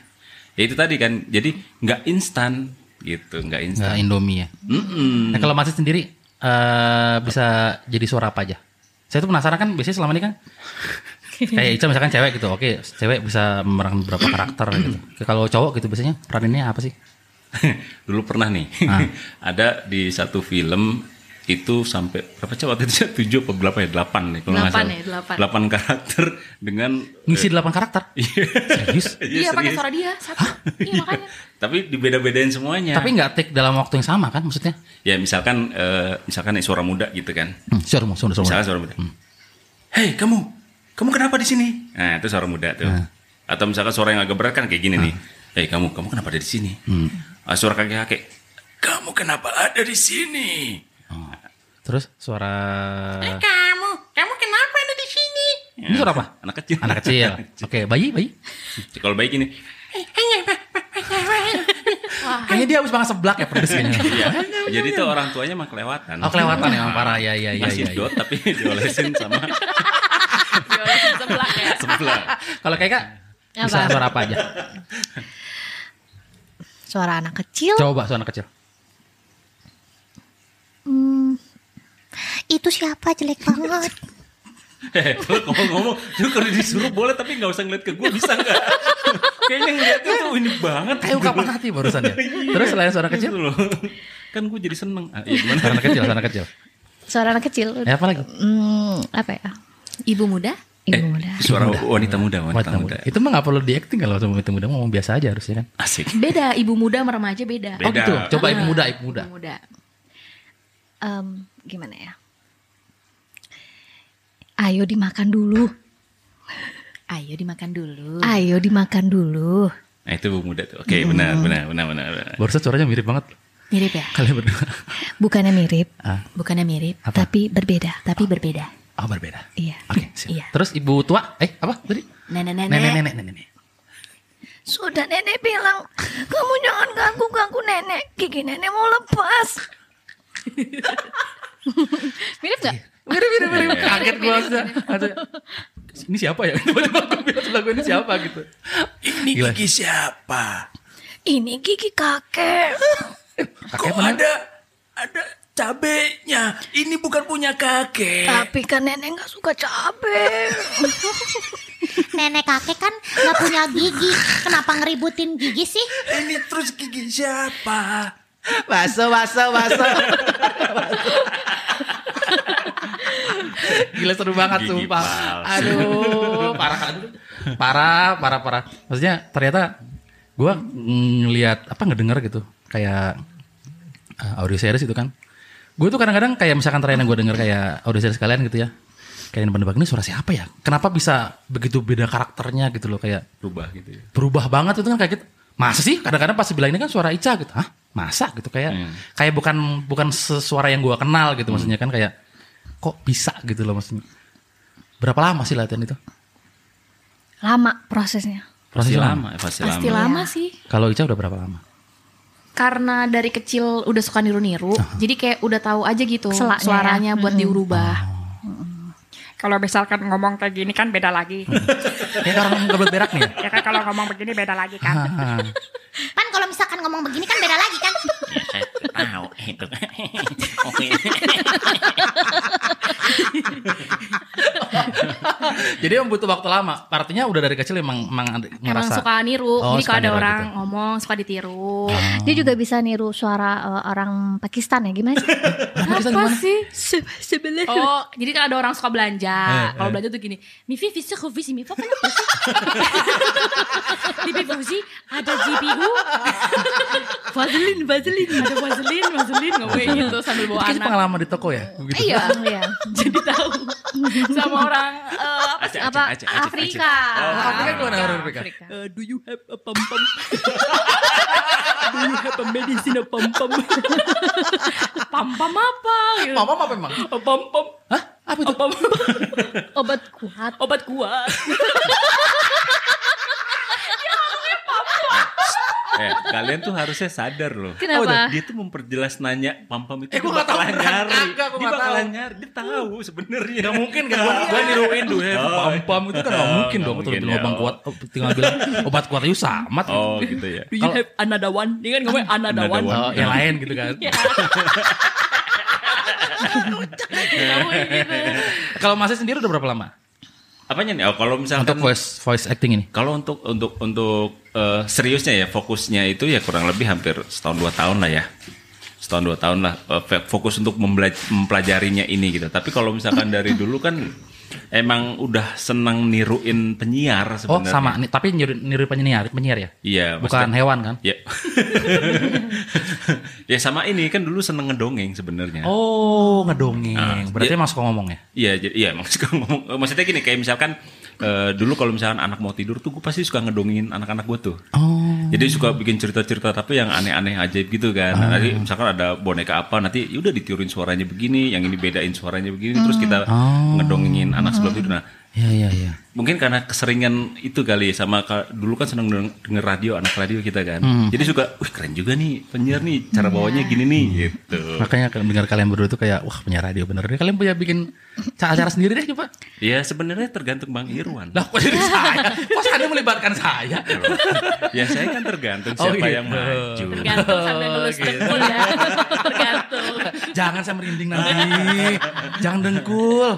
Speaker 3: Ya itu tadi kan. Jadi nggak instan gitu, nggak
Speaker 2: enggak
Speaker 3: instan.
Speaker 2: Indomie ya.
Speaker 3: Mm-mm.
Speaker 2: Nah kalau masih sendiri eh bisa jadi suara apa aja? Saya tuh penasaran kan biasanya selama ini kan kayak Ica misalkan cewek gitu, oke cewek bisa memerankan beberapa karakter gitu. Kalau cowok gitu biasanya peraninnya apa sih?
Speaker 3: dulu pernah nih ada di satu film itu sampai berapa coba waktu itu tujuh apa berapa ya delapan nih kalau nggak
Speaker 1: Delapan
Speaker 3: salah.
Speaker 1: ya, delapan.
Speaker 3: karakter dengan
Speaker 2: Ngisi delapan karakter? Serius?
Speaker 3: Eh.
Speaker 1: Iya
Speaker 3: Iya,
Speaker 1: pakai
Speaker 3: serius.
Speaker 1: suara dia satu. Iya makanya.
Speaker 3: tapi dibeda-bedain semuanya
Speaker 2: Tapi nggak take dalam waktu yang sama kan maksudnya?
Speaker 3: ya misalkan eh, misalkan nih suara muda gitu kan
Speaker 2: Hmm, suara Hmm. mau, suara, suara.
Speaker 3: misalkan suara muda hei kamu kamu kenapa di sini nah itu suara muda tuh
Speaker 2: Hmm.
Speaker 3: atau misalkan suara yang agak berat kan kayak gini nih hei kamu kamu kenapa ada di sini
Speaker 2: Hmm.
Speaker 3: Ah, suara kakek kakek kamu kenapa ada di sini
Speaker 2: Terus suara
Speaker 1: Kamu, kamu kenapa ada di sini?
Speaker 2: ini suara apa?
Speaker 3: anak kecil
Speaker 2: Anak kecil. Oke, bayi, bayi.
Speaker 3: kalau baik ini
Speaker 2: Kayaknya dia habis makan seblak ya pedes kayaknya.
Speaker 3: Iya. Jadi tuh orang tuanya mah kelewatan.
Speaker 2: Oh kelewatan emang parah ya ya ya
Speaker 3: Masih
Speaker 2: ya. ya.
Speaker 3: dot tapi diolesin sama
Speaker 1: Diolesin sebelah ya.
Speaker 3: sebelah.
Speaker 2: Kalau kayak Kak, bisa
Speaker 4: Apa?
Speaker 2: suara apa aja?
Speaker 4: Suara anak kecil.
Speaker 2: Coba suara anak kecil.
Speaker 4: Hmm, itu siapa jelek banget.
Speaker 3: Eh, lu ngomong-ngomong, lu kalau disuruh boleh tapi nggak usah ngeliat ke gue bisa nggak? Kayaknya ngeliatnya tuh ini banget.
Speaker 2: Kayak ungkapan hati barusan ya. Terus selain suara
Speaker 3: Gitu
Speaker 2: kecil,
Speaker 3: loh. Kan gue jadi seneng. Ah, iya gimana?
Speaker 2: suara anak kecil, suara anak kecil.
Speaker 4: Suara anak kecil.
Speaker 2: Ya apa lagi?
Speaker 4: Hmm, apa ya?
Speaker 1: Ibu muda?
Speaker 4: Ibu
Speaker 3: Eh,
Speaker 4: muda.
Speaker 3: suara wanita muda, wanita
Speaker 2: Wanita
Speaker 3: muda.
Speaker 2: muda. Itu mah nggak perlu di acting kalau sama wanita muda ngomong biasa aja harusnya kan.
Speaker 3: Asik.
Speaker 1: Beda, ibu muda sama remaja beda.
Speaker 3: Beda.
Speaker 2: Oh gitu. Coba ibu muda, ibu muda.
Speaker 1: Ibu muda.
Speaker 4: Em, gimana ya? Ayo dimakan dulu.
Speaker 1: Ayo dimakan dulu.
Speaker 4: Ayo dimakan dulu.
Speaker 3: Nah itu bu muda tuh. Oke benar, benar, benar, benar. benar.
Speaker 2: Barusan suaranya mirip banget
Speaker 1: Mirip ya?
Speaker 2: kalian berdua.
Speaker 4: Bukannya mirip,
Speaker 2: Ah,
Speaker 1: Bukannya mirip,
Speaker 2: Apa?
Speaker 4: tapi berbeda.
Speaker 1: tapi berbeda.
Speaker 2: oh berbeda.
Speaker 4: Iya.
Speaker 2: Oke, siap.
Speaker 1: Iya.
Speaker 2: Terus ibu tua, eh apa tadi?
Speaker 1: Nenek-nenek.
Speaker 2: Nenek, nenek, nenek, nenek.
Speaker 4: Sudah nenek bilang, kamu jangan ganggu-ganggu nenek. Gigi nenek mau lepas.
Speaker 1: Mirip gak?
Speaker 2: Mirip, mirip, mirip.
Speaker 3: Iya.
Speaker 2: Kaget gue Ini siapa ya? Tiba-tiba gue bilang sebelah gue ini siapa gitu.
Speaker 3: Ini
Speaker 2: Gila.
Speaker 3: gigi siapa?
Speaker 4: Ini gigi kakek.
Speaker 2: Kakek mana?
Speaker 3: ada cabenya? Ini bukan punya kakek.
Speaker 4: Tapi kan nenek nggak suka cabe.
Speaker 5: nenek kakek kan nggak punya gigi. Kenapa ngeributin gigi sih?
Speaker 3: Ini terus gigi siapa?
Speaker 2: Baso, baso, baso. Gila seru banget
Speaker 3: Gigi
Speaker 2: sumpah.
Speaker 3: palsu.
Speaker 2: Aduh, parah aduh. Parah, parah, parah. Maksudnya ternyata gua ngelihat apa ngedenger gitu kayak eh, audio series itu kan. Gue tuh kadang-kadang kayak misalkan terakhir yang gue denger kayak audio series kalian gitu ya. Kayak yang nebak ini suara siapa ya? Kenapa bisa begitu beda karakternya gitu loh kayak
Speaker 3: Rubah gitu ya.
Speaker 2: berubah banget itu kan kayak gitu. Masa sih kadang-kadang pas bilang ini kan suara Ica gitu. Hah? Masa gitu kayak
Speaker 3: Hmm.
Speaker 2: kayak bukan bukan sesuara yang gua kenal gitu maksudnya kan kayak kok bisa gitu loh maksudnya. Berapa lama sih latihan itu?
Speaker 4: Lama prosesnya.
Speaker 3: Pasti
Speaker 2: Prosesnya
Speaker 3: lama, pasti lama.
Speaker 1: Pasti lama sih.
Speaker 2: Kalau Ica udah berapa lama?
Speaker 1: Karena dari kecil udah suka niru-niru, jadi kayak udah tahu aja gitu
Speaker 4: Selaknya
Speaker 5: Oh.
Speaker 1: suaranya buat diubah.
Speaker 6: Kalau misalkan ngomong kayak gini kan beda lagi.
Speaker 2: Kayak orang goblok berak nih. ya?
Speaker 6: ya kan kalau ngomong begini beda lagi
Speaker 1: Iya.
Speaker 6: kan.
Speaker 2: Ah,
Speaker 5: Pan kalau misalkan ngomong begini kan beda lagi kan.
Speaker 3: Ya, saya tahu itu. Oke.
Speaker 2: Jadi emang butuh waktu lama. Artinya udah dari kecil emang emang ada-
Speaker 1: Emang
Speaker 2: ngerasa.
Speaker 1: suka niru.
Speaker 2: Oh,
Speaker 1: Jadi
Speaker 2: suka
Speaker 1: kalau ada
Speaker 2: niru
Speaker 1: orang
Speaker 2: gitu.
Speaker 1: ngomong suka ditiru.
Speaker 5: Oh.
Speaker 4: Dia juga bisa niru suara eh, orang Pakistan ya gimana sih?
Speaker 1: Apa sih?
Speaker 4: Sebelah.
Speaker 1: Oh, jadi kan ada orang suka
Speaker 5: Eh,
Speaker 1: belanja. Kalau belanja tuh gini, Mivi visi kopi sih, Mivi apa kenapa sih? Mivi Fuzi, ada GPU. Vaseline, Vaseline, ada Vaseline, Vaseline ngomongnya gitu sambil bawa
Speaker 2: Kayaknya
Speaker 1: anak.
Speaker 2: pengalaman di toko ya. Gitu.
Speaker 1: Iya,
Speaker 4: Iya.
Speaker 1: jadi tahu sama orang eh, apa sih
Speaker 3: Aceh,
Speaker 1: apa
Speaker 3: Aceh, Aceh, Aceh.
Speaker 1: Afrika.
Speaker 3: Oh,
Speaker 2: Afrika gimana orang Afrika?
Speaker 1: Eh, do you have a pom pom? do you have a medicine a pom pom? pom pom apa? Gitu.
Speaker 2: Mama apa emang?
Speaker 1: A pom pom.
Speaker 2: Hah? Apa itu?
Speaker 1: Pom pom.
Speaker 4: Obat kuat.
Speaker 1: obat kuat.
Speaker 3: Eh, kalian tuh harusnya sadar loh. Oh,
Speaker 1: Kenapa?
Speaker 3: Dia tuh memperjelas nanya pam-pam itu.
Speaker 2: Eh, gua
Speaker 3: dia
Speaker 2: nggak tahu
Speaker 3: bakalan
Speaker 2: beneran.
Speaker 3: nyari.
Speaker 2: Kagak, gua
Speaker 3: Dia
Speaker 2: nggak
Speaker 3: bakalan
Speaker 2: tahu.
Speaker 3: nyari. Dia tahu sebenarnya.
Speaker 2: Gak mungkin kan gue gue niruin duit pam pam itu kan gak mungkin
Speaker 3: Nggak
Speaker 2: dong
Speaker 3: mungkin,
Speaker 2: terus
Speaker 3: ya.
Speaker 2: bilang abang kuat oh, tinggal bilang obat kuat itu sama tuh.
Speaker 3: Oh gitu ya.
Speaker 1: Do you have another one? Dia kan ngomongnya another, one.
Speaker 3: Another
Speaker 2: Oh,
Speaker 3: one.
Speaker 2: yang lain gitu kan
Speaker 1: Ya. Ngomongnya gitu.
Speaker 2: kalau masih sendiri udah berapa lama
Speaker 3: Apanya nih? Oh, kalau misalkan
Speaker 2: untuk voice voice acting ini
Speaker 3: kalau untuk untuk untuk eh, seriusnya ya fokusnya itu ya kurang lebih hampir setahun dua tahun lah ya setahun dua tahun lah eh, fe- fokus untuk membela- mempelajarinya ini gitu tapi kalau misalkan dari dulu kan emang udah senang niruin penyiar
Speaker 2: oh
Speaker 3: sebenarnya
Speaker 2: sama nih tapi niru niru penyiar penyiar ya
Speaker 3: iya
Speaker 2: bukan
Speaker 3: maksudnya-
Speaker 2: hewan kan
Speaker 3: ya ya sama ini kan dulu seneng ngedongeng sebenarnya
Speaker 2: oh ngedongeng berarti
Speaker 3: dia-
Speaker 2: emang suka ngomong ya
Speaker 3: Iya, jadi iya emang suka ngomong. eh, Maksudnya gini, kayak misalkan eh, dulu kalau misalkan anak mau tidur tuh gue pasti suka ngedongin anak-anak gue tuh.
Speaker 2: Oh.
Speaker 3: Jadi suka bikin cerita-cerita tapi yang aneh-aneh ajaib gitu kan. Nah,
Speaker 2: Ah.
Speaker 3: Nanti misalkan ada boneka apa nanti ya udah ditiurin suaranya begini, yang ini bedain suaranya begini, terus
Speaker 2: Hmm.
Speaker 3: kita
Speaker 2: Oh.
Speaker 3: ngedongengin anak sebelum tidur. Nah,
Speaker 2: iya iya iya
Speaker 3: mungkin karena keseringan itu kali sama ka- dulu kan seneng denger, denger radio anak radio kita kan.
Speaker 2: Hmm.
Speaker 3: Jadi suka, wih keren juga nih penyiar nih cara bawanya gini nih
Speaker 2: Hmm.
Speaker 3: gitu.
Speaker 2: makanya kalau dengar kalian berdua tuh kayak wah punya radio bener Ini kalian punya bikin ca- acara sendiri deh coba
Speaker 3: Ya sebenarnya tergantung Bang Irwan.
Speaker 2: lah kok jadi saya kok anda melibatkan saya
Speaker 3: ya saya kan tergantung
Speaker 2: Oh,
Speaker 3: siapa
Speaker 2: gitu.
Speaker 3: yang maju.
Speaker 1: Tergantung sambil ngelus dengkul ya. Tergantung.
Speaker 2: jangan saya merinding nanti jangan dengkul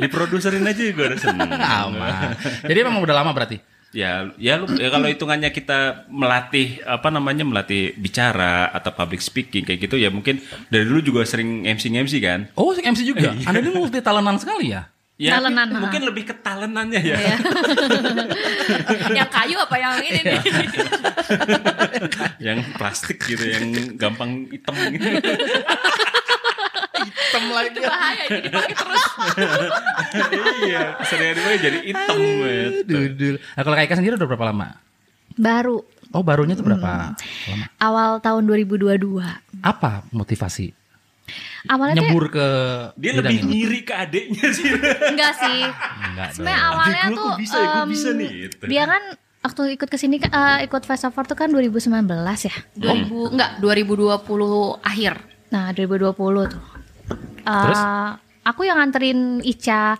Speaker 3: Diproduserin aja gue udah seneng.
Speaker 2: Aman. Jadi memang udah lama berarti.
Speaker 3: Ya, ya, lu- ya kalau hitungannya kita melatih apa namanya melatih bicara atau public speaking kayak gitu ya mungkin dari dulu juga sering MC MC kan.
Speaker 2: Oh, sing MC juga. Anda ini multi talenan sekali ya?
Speaker 3: Ya,
Speaker 4: Talenan,
Speaker 3: mungkin- mungkin lebih ke talenannya ya.
Speaker 1: Yang kayu apa yang ini nih?
Speaker 3: yang plastik gitu, yang gampang hitam gitu.
Speaker 2: Hitam lagi.
Speaker 1: Itu bahaya jadi pakai terus.
Speaker 3: iya, sering jadi hitam. gitu.
Speaker 2: Dudul. Nah, kalau Kak Ika sendiri udah berapa lama?
Speaker 4: Baru
Speaker 2: Oh, barunya tuh
Speaker 3: Hmm.
Speaker 2: berapa lama?
Speaker 4: awal tahun 2022.
Speaker 2: Apa motivasi?
Speaker 4: Awalnya tuh ya,
Speaker 2: Nyebur ke
Speaker 3: Dia
Speaker 2: bidang
Speaker 3: lebih
Speaker 2: ini?
Speaker 3: ngiri ke adiknya sih.
Speaker 4: enggak sih.
Speaker 2: Enggak dong.
Speaker 4: Sebenarnya awalnya
Speaker 3: Adik gua
Speaker 4: tuh
Speaker 3: kok bisa ya, gua
Speaker 4: em,
Speaker 3: bisa nih, gitu.
Speaker 4: Dia kan waktu ikut ke sini kan eh, ikut Fast Over tuh kan 2019 ya.
Speaker 1: 2000 enggak 2020 akhir.
Speaker 4: Nah, 2020 tuh. Eh,
Speaker 2: Terus?
Speaker 4: aku yang nganterin Ica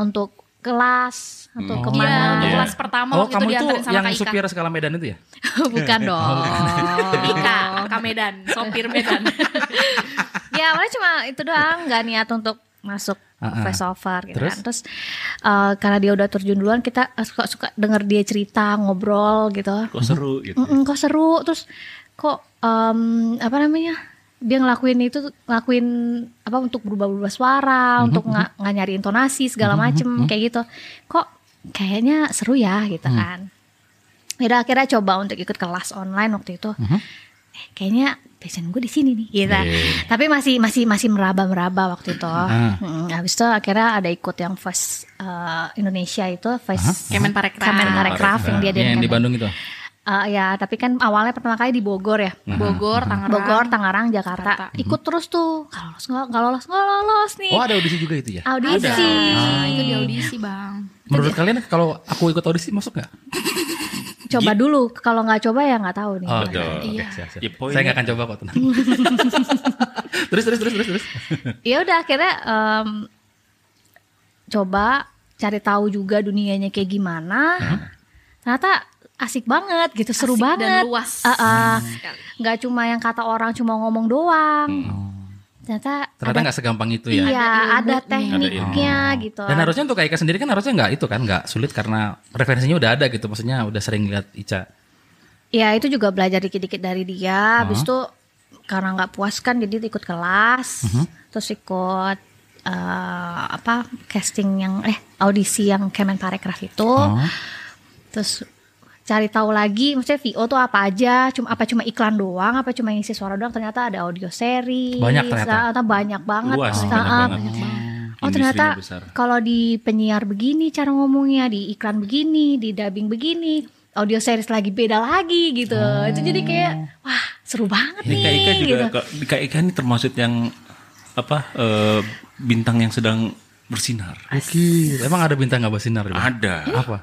Speaker 4: untuk kelas atau
Speaker 1: Iya,
Speaker 4: kemana
Speaker 3: Iya.
Speaker 1: kelas pertama
Speaker 2: Oh,
Speaker 1: waktu itu
Speaker 2: kamu itu
Speaker 1: diantarin sama
Speaker 2: yang
Speaker 1: Kak Ika.
Speaker 2: supir skala Medan itu ya?
Speaker 4: bukan dong
Speaker 1: Oh. Ika, Kak Medan, sopir Medan.
Speaker 4: ya awalnya cuma itu doang nggak niat untuk masuk
Speaker 2: Ah, ah.
Speaker 4: voice over gitu
Speaker 2: Terus?
Speaker 4: kan terus eh, karena dia udah terjun duluan kita suka suka denger dia cerita ngobrol gitu
Speaker 3: Kok seru gitu.
Speaker 4: Mm-mm, kok seru terus kok em, apa namanya dia ngelakuin itu tuh, ngelakuin apa untuk berubah-ubah suara untuk nggak nggak nyari intonasi segala macem kayak gitu kok kayaknya seru ya gitu kan Yaudah akhirnya coba untuk ikut kelas online waktu itu eh, kayaknya passion gue di sini nih gitu tapi masih masih masih meraba-meraba waktu itu
Speaker 2: Ah.
Speaker 4: Mm, habis itu akhirnya ada ikut yang first eh, Indonesia itu first
Speaker 1: Kemenparekraf.
Speaker 4: Kemenparekraf
Speaker 3: Nah,
Speaker 4: yang dia
Speaker 2: Iya, yang di
Speaker 4: diadakan.
Speaker 2: Bandung itu.
Speaker 4: Eh, ya, tapi kan awalnya pertama kali di Bogor ya.
Speaker 1: Bogor, Hmm. Tangerang.
Speaker 4: Bogor, Tangerang, Jakarta.
Speaker 1: Jakarta. Hmm.
Speaker 4: Ikut terus tuh. Kalau lolos nggak nggak lolos nggak lolos nih.
Speaker 2: Oh, ada audisi juga itu ya?
Speaker 1: Ada.
Speaker 4: Audisi.
Speaker 1: Ah, itu di audisi, Bang.
Speaker 2: Menurut kalian kalau aku ikut audisi masuk nggak?
Speaker 4: Coba dulu. Kalau nggak coba ya nggak tahu nih.
Speaker 2: Oh,
Speaker 3: Betul.
Speaker 2: Oke,
Speaker 1: Iya.
Speaker 2: siap, siap.
Speaker 3: Ya, poinnya-
Speaker 2: Saya nggak akan coba kok, tenang. terus, terus, terus, terus, terus.
Speaker 4: Ya udah akhirnya em, coba cari tahu juga dunianya kayak gimana.
Speaker 2: Hmm.
Speaker 4: Ternyata asik banget gitu, seru
Speaker 1: Asik
Speaker 4: banget.
Speaker 1: dan luas.
Speaker 4: Ah, ah.
Speaker 2: Hmm.
Speaker 1: Sekali.
Speaker 4: nggak cuma yang kata orang cuma ngomong doang. Ternyata,
Speaker 2: Hmm. Ternyata
Speaker 4: ada,
Speaker 2: nggak segampang itu ya.
Speaker 4: iya,
Speaker 1: Ada
Speaker 4: ada,
Speaker 1: ilmunya. Iya,
Speaker 4: tekniknya
Speaker 2: Oh.
Speaker 4: gitu.
Speaker 2: Dan harusnya untuk Kak Ika sendiri kan harusnya nggak itu kan nggak sulit karena referensinya udah ada gitu. Maksudnya udah sering lihat Ica.
Speaker 4: Ya itu juga belajar dikit-dikit dari dia. Habis itu karena nggak puas kan jadi ikut kelas, terus ikut eh, apa casting yang eh audisi yang Kemenparekraf itu.
Speaker 2: Oh.
Speaker 4: Terus cari tahu lagi maksudnya VO tuh apa aja, cuma apa cuma iklan doang, apa cuma ngisi suara doang, ternyata ada audio series. Ah,
Speaker 2: Banyak ternyata.
Speaker 4: banyak banget.
Speaker 3: Luas,
Speaker 4: Ah,
Speaker 3: banyak
Speaker 4: ah,
Speaker 3: banget.
Speaker 4: Oh
Speaker 3: Industrinya
Speaker 4: ternyata
Speaker 3: besar.
Speaker 4: kalau di penyiar begini cara ngomongnya, di iklan begini, di dubbing begini, audio series lagi beda lagi gitu. Itu jadi kayak wah seru banget
Speaker 3: Ini Oh. Iya,
Speaker 4: nih
Speaker 3: Kak Ika juga
Speaker 4: gitu.
Speaker 3: Kak- Kak Ika ini termasuk yang apa eh, bintang yang sedang bersinar.
Speaker 2: Oke. Iya, Emang ada bintang nggak bersinar? Bang?
Speaker 3: Ada.
Speaker 2: Apa?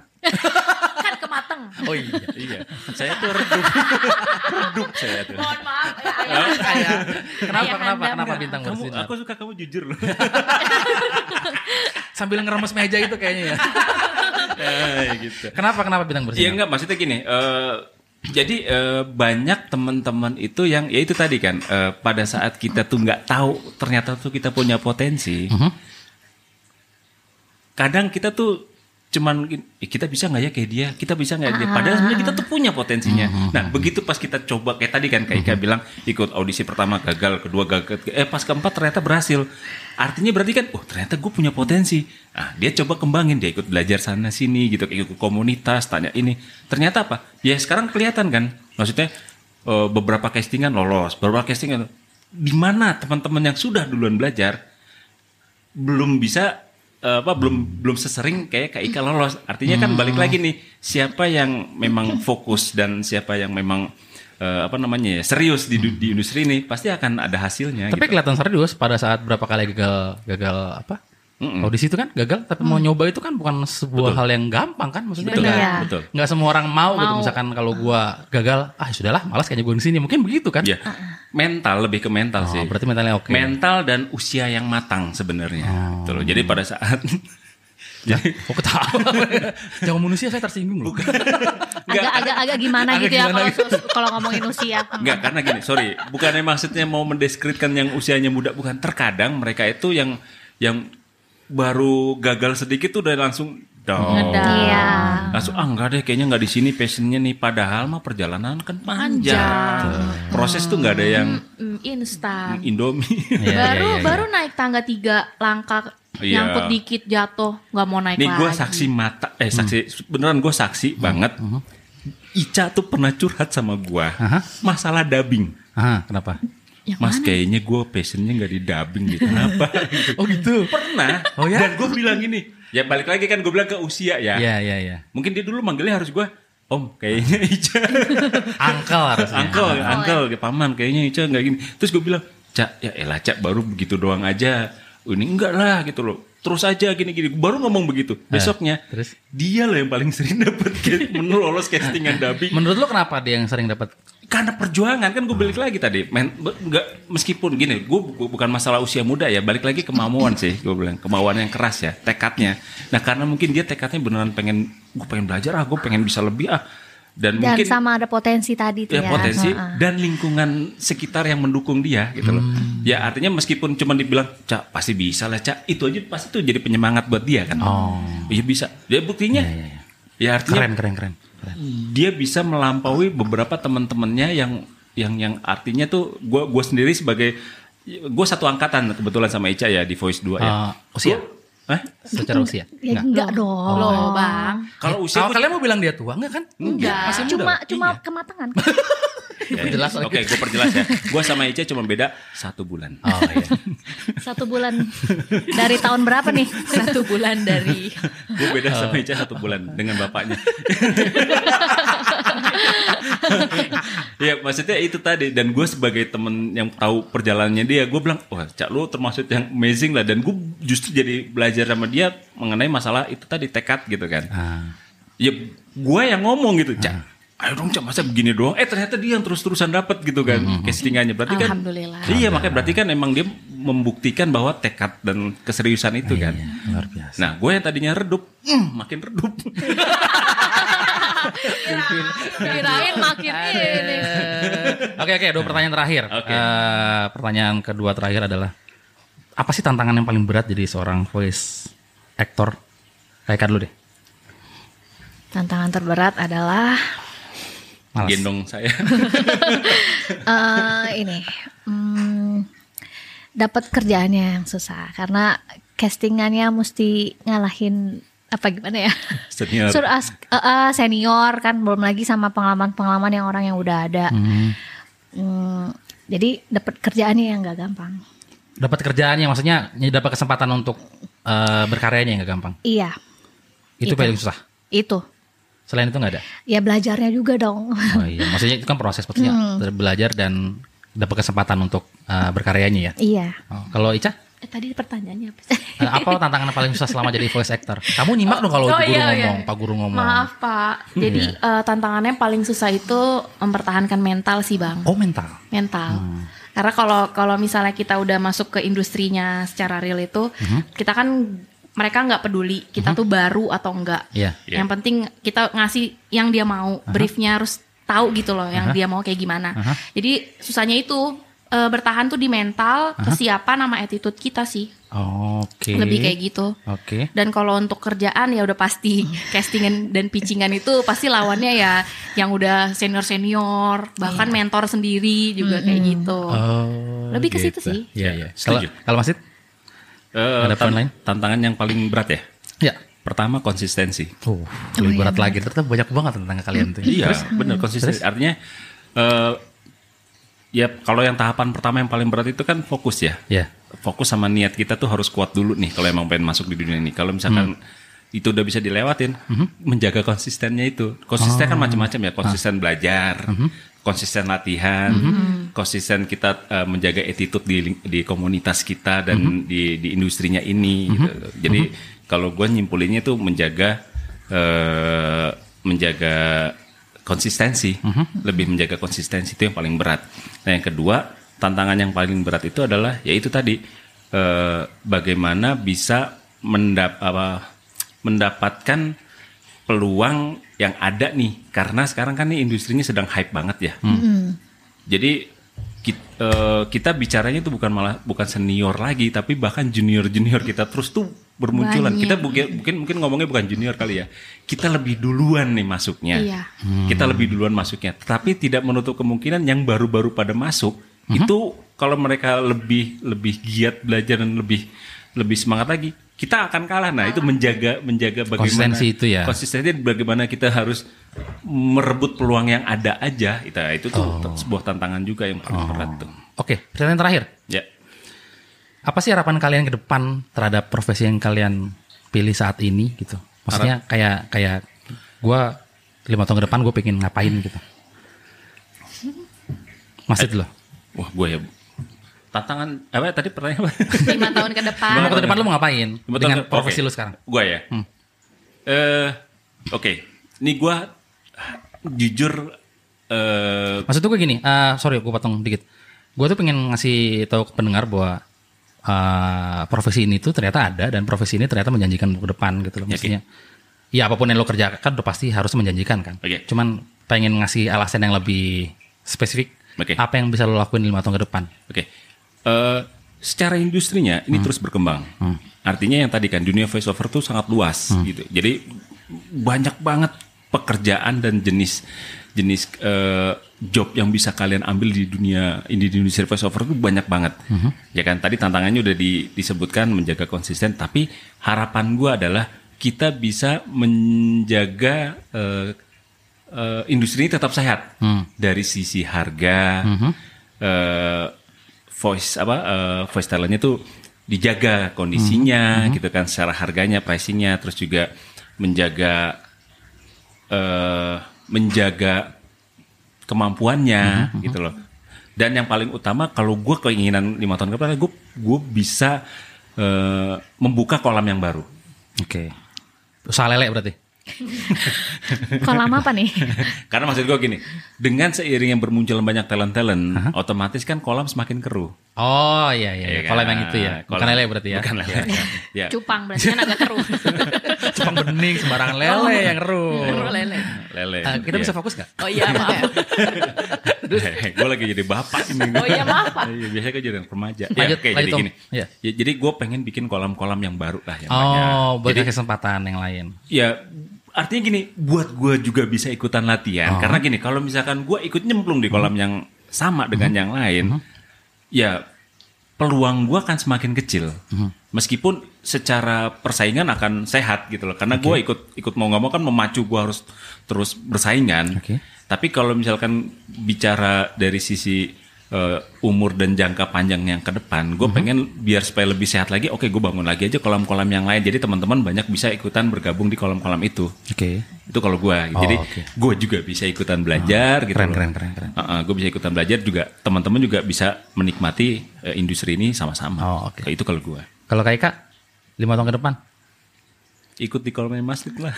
Speaker 1: Kan kemateng.
Speaker 3: Oh iya, iya. Saya tuh redup. redup saya tuh.
Speaker 1: Mohon maaf ya, ayah. ayah.
Speaker 2: Kenapa
Speaker 1: Ayah
Speaker 2: kenapa
Speaker 1: Anda
Speaker 2: kenapa
Speaker 1: enggak.
Speaker 2: bintang
Speaker 3: Kamu,
Speaker 2: bersinar?
Speaker 3: aku suka kamu jujur loh.
Speaker 2: Sambil ngeremes meja itu kayaknya ya.
Speaker 3: Eh, gitu.
Speaker 2: Kenapa kenapa bintang bersinar?
Speaker 3: Iya enggak, maksudnya gini. eh, jadi eh, banyak teman-teman itu yang, ya itu tadi kan, eh, pada saat kita tuh nggak tahu ternyata tuh kita punya potensi.
Speaker 2: Mhm.
Speaker 3: Kadang kita tuh cuman gini, "Ih, kita bisa nggak ya kayak dia, kita bisa nggak dia. Padahal sebenarnya kita tuh punya potensinya. Nah begitu pas kita coba kayak tadi kan Kak Ika bilang ikut audisi pertama gagal, kedua gagal, ke- eh pas keempat ternyata berhasil. Artinya berarti kan, oh ternyata gue punya potensi. Nah dia coba kembangin, dia ikut belajar sana sini gitu, ikut komunitas, tanya ini. Ternyata apa? Ya sekarang kelihatan kan, maksudnya eh, beberapa castingan lolos, beberapa castingan di mana teman-teman yang sudah duluan belajar belum bisa eh, apa belum belum sesering kayak Kak Ika lolos. Artinya kan
Speaker 2: Hmm.
Speaker 3: balik lagi nih siapa yang memang fokus dan siapa yang memang eh, apa namanya ya serius di du- di industri ini pasti akan ada hasilnya
Speaker 2: Tapi
Speaker 3: gitu.
Speaker 2: kelihatan serius pada saat berapa kali gagal gagal apa?
Speaker 3: Mm-mm.
Speaker 2: Audisi itu kan gagal, tapi mau nyoba itu kan bukan sebuah hal yang gampang kan maksudnya.
Speaker 3: Betul,
Speaker 2: nggak-
Speaker 4: Iya.
Speaker 3: betul.
Speaker 2: nggak semua orang mau, gitu
Speaker 1: Mau.
Speaker 2: misalkan kalau gua gagal, ah sudahlah, malas kayaknya gua di sini. Mungkin begitu kan?
Speaker 3: Ya. Mental lebih ke mental
Speaker 2: Oh,
Speaker 3: sih.
Speaker 2: berarti mentalnya oke.
Speaker 3: Mental dan usia yang matang sebenarnya. Gitu loh. Jadi pada saat jadi
Speaker 2: Oh ketawa. Jangan manusia saya tersinggung loh.
Speaker 3: Nggak.
Speaker 4: Agak-agak gimana
Speaker 2: Agak
Speaker 4: gitu ya
Speaker 2: gimana
Speaker 4: kalau
Speaker 2: gitu.
Speaker 4: kalau ngomongin usia.
Speaker 3: Enggak, karena gini, sorry, bukannya maksudnya mau mendeskripsikan yang usianya muda, bukan. Terkadang mereka itu yang yang baru gagal sedikit tuh udah langsung down.
Speaker 1: Ngedown.
Speaker 4: Iya.
Speaker 3: Langsung ah enggak deh, kayaknya nggak di sini passionnya nih. Padahal mah perjalanan kan panjang.
Speaker 1: Panjang.
Speaker 3: Proses tuh nggak ada yang
Speaker 1: Mm, Instan.
Speaker 3: Indomie.
Speaker 2: Iya,
Speaker 1: baru
Speaker 2: iya, iya,
Speaker 1: baru naik tangga tiga langkah
Speaker 3: Iya.
Speaker 1: nyangkut dikit jatuh nggak mau naik
Speaker 3: Nih
Speaker 1: lagi.
Speaker 3: gue saksi mata, eh
Speaker 2: Mm-hmm.
Speaker 3: saksi beneran gue saksi banget. Ica tuh pernah curhat sama gue
Speaker 2: Aha.
Speaker 3: masalah dubbing.
Speaker 2: Ah, kenapa?
Speaker 1: Yang
Speaker 3: Mas
Speaker 1: mana?
Speaker 3: kayaknya gue passionnya nggak di dubbing deh. Kenapa?
Speaker 2: Oh gitu.
Speaker 3: pernah
Speaker 2: Oh ya?
Speaker 3: dan gue bilang gini ya balik lagi kan gue bilang ke usia ya
Speaker 2: Iya, iya, iya.
Speaker 3: mungkin dia dulu manggilnya harus gue om kayaknya
Speaker 2: Ah.
Speaker 3: Ica
Speaker 2: Angkel harusnya.
Speaker 3: uncle uncle ya, paman kayaknya Ica nggak gini terus gue bilang cak ya elah cak baru begitu doang aja ini enggak lah gitu loh terus aja gini gini baru ngomong begitu besoknya
Speaker 2: Iya. terus?
Speaker 3: dia lah yang paling sering dapet ca- menu lolos castingan dubbing
Speaker 2: Menurut lo kenapa dia yang sering dapat?
Speaker 3: karena perjuangan kan gue balik lagi tadi men be- nggak meskipun gini gue bukan masalah usia muda ya balik lagi kemauan sih gue bilang kemauan yang keras ya tekadnya nah karena mungkin dia tekadnya beneran pengen gue pengen belajar ah gue pengen bisa lebih ah dan,
Speaker 4: Dan
Speaker 3: mungkin
Speaker 4: sama ada potensi tadi tuh
Speaker 3: ya
Speaker 4: ya.
Speaker 3: potensi
Speaker 4: Ah, ah.
Speaker 3: dan lingkungan sekitar yang mendukung dia gitu loh
Speaker 2: Hmm.
Speaker 3: ya artinya meskipun cuma dibilang cak pasti bisa lah cak itu aja pasti tuh jadi penyemangat buat dia kan
Speaker 2: Oh.
Speaker 3: iya bisa dia buktinya
Speaker 2: Iya, iya, iya.
Speaker 3: ya artinya
Speaker 2: Keren, keren, keren. keren.
Speaker 3: dia bisa melampaui beberapa teman-temannya yang yang yang artinya tuh gue gue sendiri sebagai gue satu angkatan kebetulan sama Ica ya di Voice 2 ya.
Speaker 2: Ah, usia?
Speaker 3: Hah?
Speaker 2: Secara usia?
Speaker 4: Ya enggak
Speaker 3: Oh.
Speaker 4: dong.
Speaker 1: Loh Oh, bang,
Speaker 3: Kalau
Speaker 2: Eh,
Speaker 3: usia
Speaker 2: Kalau
Speaker 3: gua-
Speaker 2: kalian mau bilang dia tua enggak kan?
Speaker 1: enggak.
Speaker 2: Masih muda. Iya.
Speaker 4: Cuma
Speaker 2: loh.
Speaker 4: cuma kematangan.
Speaker 3: Ya, ya.
Speaker 2: Perjelas lagi.
Speaker 3: Oke, gue perjelas ya. Gue sama Ica cuma beda satu bulan.
Speaker 2: Oh iya.
Speaker 4: Satu bulan dari tahun berapa nih?
Speaker 1: Satu bulan dari
Speaker 3: Gue beda
Speaker 2: Oh.
Speaker 3: sama Ica satu bulan dengan bapaknya. Iya maksudnya itu tadi dan gue sebagai temen yang tahu perjalanannya dia gue bilang wah cak lu termasuk yang amazing lah dan gue justru jadi belajar sama dia mengenai masalah itu tadi tekad gitu kan.
Speaker 2: Ah.
Speaker 3: Ya gue yang ngomong gitu cak ayo dong cak masa begini doang eh ternyata dia yang terus-terusan dapat gitu
Speaker 2: Hmm,
Speaker 3: kan castingannya berarti kan
Speaker 1: Alhamdulillah.
Speaker 3: iya makanya berarti kan emang dia membuktikan bahwa tekad dan keseriusan itu kan
Speaker 2: Iya, luar biasa.
Speaker 3: nah gue yang tadinya redup mm,
Speaker 2: Hmm.
Speaker 3: makin redup
Speaker 1: Kirain makin ini.
Speaker 2: Nah, Oke oke dua pertanyaan terakhir.
Speaker 3: Eh. Oke.
Speaker 2: Eh, pertanyaan kedua terakhir adalah apa sih tantangan yang paling berat jadi seorang voice actor? Kayak Eka dulu deh.
Speaker 4: Tantangan terberat adalah
Speaker 2: Malas.
Speaker 3: gendong saya
Speaker 4: eh ini hmm, dapat kerjaannya yang susah karena castingannya mesti ngalahin apa gimana ya
Speaker 3: Senior.
Speaker 4: Sur-
Speaker 2: ah.
Speaker 4: as- eh, eh, senior kan belum lagi sama pengalaman pengalaman yang orang yang udah ada
Speaker 2: Hmm.
Speaker 4: Hmm, jadi dapat kerjaannya yang nggak gampang
Speaker 2: Dapat kerjaannya maksudnya dapat kesempatan untuk eh, berkaryanya yang gak gampang.
Speaker 4: iya
Speaker 2: Itu,
Speaker 4: Itu.
Speaker 2: paling susah.
Speaker 4: itu
Speaker 2: Selain itu nggak ada.
Speaker 4: ya belajarnya juga dong
Speaker 2: Oh iya, maksudnya itu kan proses maksudnya belajar dan dapat kesempatan untuk eh, berkaryanya ya.
Speaker 4: iya
Speaker 2: Oh, kalau Ica,
Speaker 1: Eh, tadi pertanyaannya apa sih?
Speaker 2: eh, apa tantangan yang paling susah selama jadi voice actor? Kamu nyimak dong kalau
Speaker 1: Oh,
Speaker 2: guru
Speaker 1: iya, iya.
Speaker 2: ngomong, Pak Guru ngomong. Iya.
Speaker 1: Maaf Pak. Jadi eh, tantangannya paling susah itu mempertahankan mental sih Bang.
Speaker 2: Oh mental.
Speaker 1: mental.
Speaker 2: Hmm.
Speaker 1: Karena kalau kalau misalnya kita udah masuk ke industrinya secara real itu,
Speaker 2: Hmm.
Speaker 1: kita kan mereka nggak peduli kita tuh baru atau enggak.
Speaker 2: Iya.
Speaker 3: Iya.
Speaker 1: Yang penting kita ngasih yang dia mau, briefnya harus tahu gitu loh yang dia mau kayak gimana.
Speaker 2: Aha.
Speaker 1: Jadi susahnya itu eh, bertahan tuh di mental, kesiapan sama attitude kita sih,
Speaker 2: Oke.
Speaker 1: lebih kayak gitu.
Speaker 2: Oke.
Speaker 1: Dan kalau untuk kerjaan ya udah pasti castingan dan pitchingan itu pasti lawannya ya yang udah senior-senior, bahkan mentor sendiri juga kayak gitu.
Speaker 2: Oh,
Speaker 1: Lebih ke situ sih.
Speaker 2: Iya, iya. Kalau
Speaker 3: Setuju.
Speaker 2: kalau Masjid?
Speaker 3: Eh,
Speaker 2: Ada poin
Speaker 3: tan-
Speaker 2: lain?
Speaker 3: tantangan yang paling berat ya
Speaker 2: Ya.
Speaker 3: pertama konsistensi
Speaker 1: Oh,
Speaker 2: Tuh, Oh,
Speaker 1: iya.
Speaker 2: lebih berat lagi. Ternyata banyak banget tentang kalian tuh.
Speaker 3: Iya,
Speaker 2: Hmm.
Speaker 3: benar konsistensi. Artinya eh ya kalau yang tahapan pertama yang paling berat itu kan fokus ya.
Speaker 2: Iya.
Speaker 3: Fokus sama niat kita tuh harus kuat dulu nih kalau emang pengen masuk di dunia ini. Kalau misalkan itu udah bisa dilewatin, menjaga konsistennya itu. Konsisten kan macam-macam ya, konsisten belajar, konsisten latihan, konsisten kita eh, menjaga attitude di ling- di komunitas kita dan di di industrinya ini gitu. Jadi kalau gue nyimpulinnya itu menjaga eh menjaga konsistensi lebih menjaga konsistensi itu yang paling berat nah yang kedua tantangan yang paling berat itu adalah yaitu tadi eh, bagaimana bisa mendap apa, mendapatkan peluang yang ada nih karena sekarang kan nih industrinya sedang hype banget ya jadi kita, kita bicaranya itu bukan malah bukan senior lagi tapi bahkan junior junior kita terus tuh bermunculan. Kita buki- mungkin mungkin ngomongnya bukan junior kali ya. Kita lebih duluan nih masuknya.
Speaker 1: Iya.
Speaker 3: Kita lebih duluan masuknya. Tapi tidak menutup kemungkinan yang baru-baru pada masuk itu kalau mereka lebih lebih giat belajar dan lebih lebih semangat lagi kita akan kalah. Nah itu menjaga menjaga bagaimana
Speaker 2: Konsistensi itu ya.
Speaker 3: konsistensi bagaimana kita harus merebut peluang yang ada aja itu itu tuh sebuah tantangan juga yang paling berat tuh
Speaker 2: Oke, pertanyaan terakhir.
Speaker 3: ya
Speaker 2: Apa sih harapan kalian ke depan terhadap profesi yang kalian pilih saat ini gitu? Maksudnya kayak kayak gua lima tahun ke depan gue pengen ngapain gitu? Masjid loh.
Speaker 3: wah gue ya tantangan apa tadi pertanyaan apa
Speaker 1: lima tahun ke depan.
Speaker 2: Lima tahun ke depan lu mau ngapain?
Speaker 3: Betul,
Speaker 2: dengan
Speaker 3: oke.
Speaker 2: kan profesi lu sekarang. Hmm.
Speaker 3: gue ya eh oke ini gue jujur eh
Speaker 2: Maksud gue gini, eh, sorry gue potong dikit. Gue tuh pengen ngasih tahu ke pendengar bahwa eh, profesi ini tuh ternyata ada dan profesi ini ternyata menjanjikan untuk ke depan gitu loh. Maksudnya, ya apapun yang lo kerjakan udah pasti harus menjanjikan kan.
Speaker 3: Oke.
Speaker 2: Cuman pengen ngasih alasan yang lebih spesifik.
Speaker 3: Oke.
Speaker 2: Apa yang bisa lo lakuin lima tahun ke depan?
Speaker 3: Oke. Eh, secara industrinya ini terus berkembang. Artinya yang tadi kan dunia voiceover tuh sangat luas gitu. Jadi banyak banget pekerjaan dan jenis jenis eh, job yang bisa kalian ambil di dunia ini di industri voiceover tuh banyak banget. Ya kan tadi tantangannya udah di- disebutkan menjaga konsisten tapi harapan gua adalah kita bisa menjaga eh, eh, industri ini tetap sehat dari sisi harga eh, voice apa eh, voice talentnya tuh dijaga kondisinya gitu kan secara harganya pricingnya terus juga menjaga eh, menjaga kemampuannya gitu loh dan yang paling utama kalau gue keinginan lima tahun ke depan gue gue bisa eh, membuka kolam yang baru
Speaker 2: Oke. Usaha lele berarti.
Speaker 4: Kolam apa nih?
Speaker 3: Karena maksud gue gini, dengan seiring yang bermunculan banyak talent-talent, otomatis kan kolam semakin keruh.
Speaker 2: Oh iya iya, iya.
Speaker 3: Iya
Speaker 2: kolam
Speaker 3: kan?
Speaker 2: yang itu ya. Bukan
Speaker 3: Kolam-
Speaker 2: lele berarti ya.
Speaker 3: Bukan lele. ya.
Speaker 1: Cupang berarti kan agak keruh.
Speaker 2: Cuma bening sembarangan lele yang keruh.
Speaker 1: Keruh lele.
Speaker 3: Lele.
Speaker 2: Eh, kita
Speaker 3: Oh. Iya.
Speaker 2: bisa fokus gak?
Speaker 1: Oh iya maaf.
Speaker 3: gue lagi jadi bapak ini.
Speaker 1: Oh iya, maaf, Pak.
Speaker 3: Iya, Biasanya gue jadi anak remaja.
Speaker 2: Lanjut,
Speaker 3: oke,
Speaker 2: lanjut,
Speaker 3: jadi
Speaker 2: Om.
Speaker 3: gini.
Speaker 2: Iya.
Speaker 3: Ya, jadi gue pengen bikin kolam-kolam yang baru lah yang banyak.
Speaker 2: Oh, buat
Speaker 3: Iya. Jadi
Speaker 2: kasih kesempatan yang lain.
Speaker 3: ya artinya gini, buat gue juga bisa ikutan
Speaker 2: Oh.
Speaker 3: latihan. Karena gini, kalau misalkan gue ikut nyemplung di
Speaker 2: Hmm.
Speaker 3: kolam yang sama dengan yang lain, ya peluang gue akan semakin kecil.
Speaker 2: Mhm.
Speaker 3: Meskipun secara persaingan akan sehat gitu loh. Karena gue ikut ikut mau nggak mau kan memacu gue harus terus bersaingan.
Speaker 2: Oke.
Speaker 3: Tapi kalau misalkan bicara dari sisi eh, umur dan jangka panjang yang ke depan,
Speaker 2: Mhm.
Speaker 3: gue pengen biar supaya lebih sehat lagi. Oke, gue bangun lagi aja kolam-kolam yang lain. Jadi teman-teman banyak bisa ikutan bergabung di kolam-kolam itu.
Speaker 2: Oke.
Speaker 3: Itu kalau gue.
Speaker 2: Oh,
Speaker 3: Jadi
Speaker 2: oke. Ah,
Speaker 3: gue juga bisa ikutan belajar. gitu
Speaker 2: Keren,
Speaker 3: loh.
Speaker 2: keren, keren, keren.
Speaker 3: gue bisa ikutan belajar juga. Teman-teman juga bisa menikmati eh, industri ini sama-sama.
Speaker 2: Oh, oke.
Speaker 3: Itu kalau gue.
Speaker 2: Kalau kayak Kak, lima tahun ke depan.
Speaker 3: Ikut di kolamnya Mas Lit lah.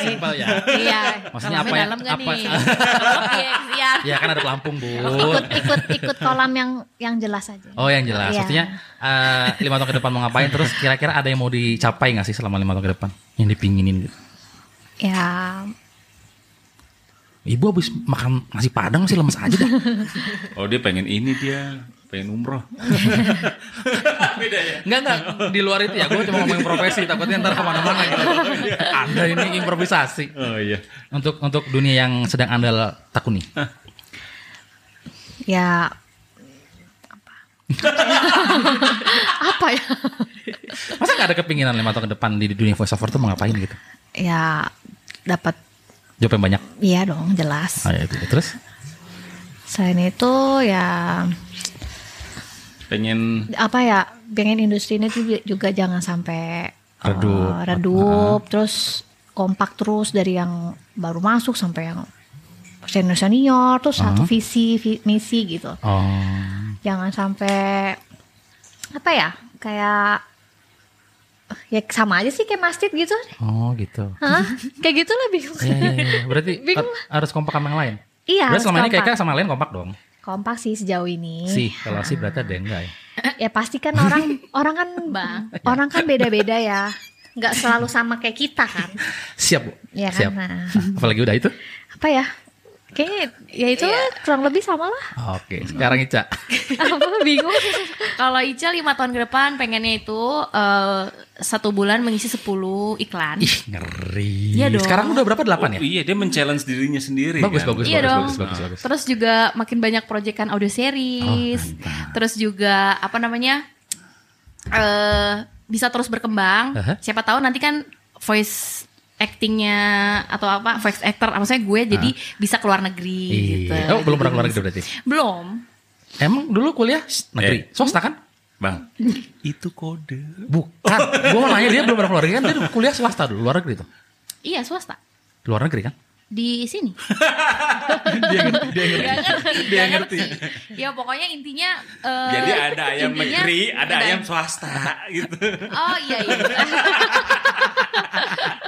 Speaker 2: Simpel ya.
Speaker 1: Iya. Kolamnya
Speaker 2: Maksudnya apa ya?
Speaker 1: dalam gak
Speaker 2: Apa-
Speaker 1: nih? Kalau iya, kesian.
Speaker 2: Ya kan ada pelampung, Bu.
Speaker 4: ikut ikut ikut kolam yang yang jelas aja.
Speaker 2: Oh yang jelas,
Speaker 4: Iya.
Speaker 2: maksudnya eh, lima tahun ke depan mau ngapain? Terus kira-kira ada yang mau dicapai nggak sih selama lima tahun ke depan? Yang dipinginin gitu.
Speaker 4: Ya,
Speaker 2: Ibu habis makan nasi padang sih lemes aja dah.
Speaker 3: oh, dia pengen ini dia. Pengen umroh. Beda ya?
Speaker 2: Enggak enggak di luar itu ya. Gue cuma ngomongin profesi, takutnya ntar kemana-mana gitu. Anda ini improvisasi
Speaker 3: Oh iya.
Speaker 2: untuk untuk dunia yang sedang anda takuni.
Speaker 4: ya apa? apa ya?
Speaker 2: Masa nggak ada kepinginan lima tahun ke depan di dunia voice over tuh mau ngapain gitu?
Speaker 4: Ya dapat
Speaker 2: Jawab yang banyak.
Speaker 4: iya dong jelas.
Speaker 2: Oh, ya, itu. Terus
Speaker 4: Selain itu ya
Speaker 3: Pengen
Speaker 4: apa ya pengen industri ini tuh juga jangan sampai eh,
Speaker 2: Redup.
Speaker 4: redup, terus kompak terus dari yang baru masuk sampai yang senior senior terus satu visi vi- misi gitu
Speaker 2: oh
Speaker 4: jangan sampai apa ya kayak ya sama aja sih kayak masjid gitu
Speaker 2: oh gitu.
Speaker 4: Hah? kayak gitu lebih
Speaker 2: Iya iya iya. Berarti
Speaker 4: Bingung.
Speaker 2: har- harus kompak sama yang lain. Berarti
Speaker 4: iya harus
Speaker 2: selama ini
Speaker 4: kompak
Speaker 2: kayak sama lain kompak dong.
Speaker 4: kompak sih sejauh
Speaker 1: Iya.
Speaker 4: ini
Speaker 2: Sih, kalau sih berarti ada yang enggak ya.
Speaker 4: ya pasti kan orang orang kan
Speaker 1: Bang.
Speaker 4: orang kan beda beda ya nggak selalu sama kayak kita kan
Speaker 2: Siap, Bu.
Speaker 4: Iya kan,
Speaker 2: Siap.
Speaker 4: nah.
Speaker 2: Apalagi udah itu?
Speaker 4: apa ya kayaknya ya itu lah, kurang lebih sama lah
Speaker 2: Oke,
Speaker 1: Hmm.
Speaker 2: sekarang Ica.
Speaker 4: apa bingung
Speaker 1: Kalau Ica lima tahun ke depan pengennya itu eh, satu bulan mengisi 10 iklan.
Speaker 2: Ih, ngeri.
Speaker 1: Iya dong.
Speaker 2: Sekarang udah berapa? 8 ya?
Speaker 3: Oh, iya, dia men-challenge dirinya sendiri.
Speaker 2: Bagus,
Speaker 3: kan?
Speaker 2: bagus,
Speaker 1: Iya
Speaker 2: bagus,
Speaker 1: dong.
Speaker 2: bagus, bagus, bagus.
Speaker 1: Terus juga makin banyak proyekan audio series.
Speaker 2: Oh, mantap.
Speaker 1: terus juga apa namanya? eh bisa terus berkembang.
Speaker 2: Aha.
Speaker 1: Siapa tahu nanti kan voice actingnya atau apa voice actor maksudnya gue jadi bisa keluar negeri gitu.
Speaker 2: Iya. Oh, belum pernah keluar gitu berarti.
Speaker 1: Belum.
Speaker 2: Emang dulu kuliah negeri, swasta kan?
Speaker 3: Bang, itu kode.
Speaker 2: Bukan. Gua mau nanya dia belum pernah keluar negeri kan? Dia kuliah swasta dulu, luar negeri tuh.
Speaker 1: Iya, swasta.
Speaker 2: Luar negeri kan?
Speaker 1: Di sini. Dia ngerti. Dia ngerti. Ya pokoknya intinya eh,
Speaker 3: Jadi ada ayam
Speaker 1: intinya-
Speaker 3: negeri, ada
Speaker 1: ada-
Speaker 3: ayam swasta gitu.
Speaker 1: Oh iya iya.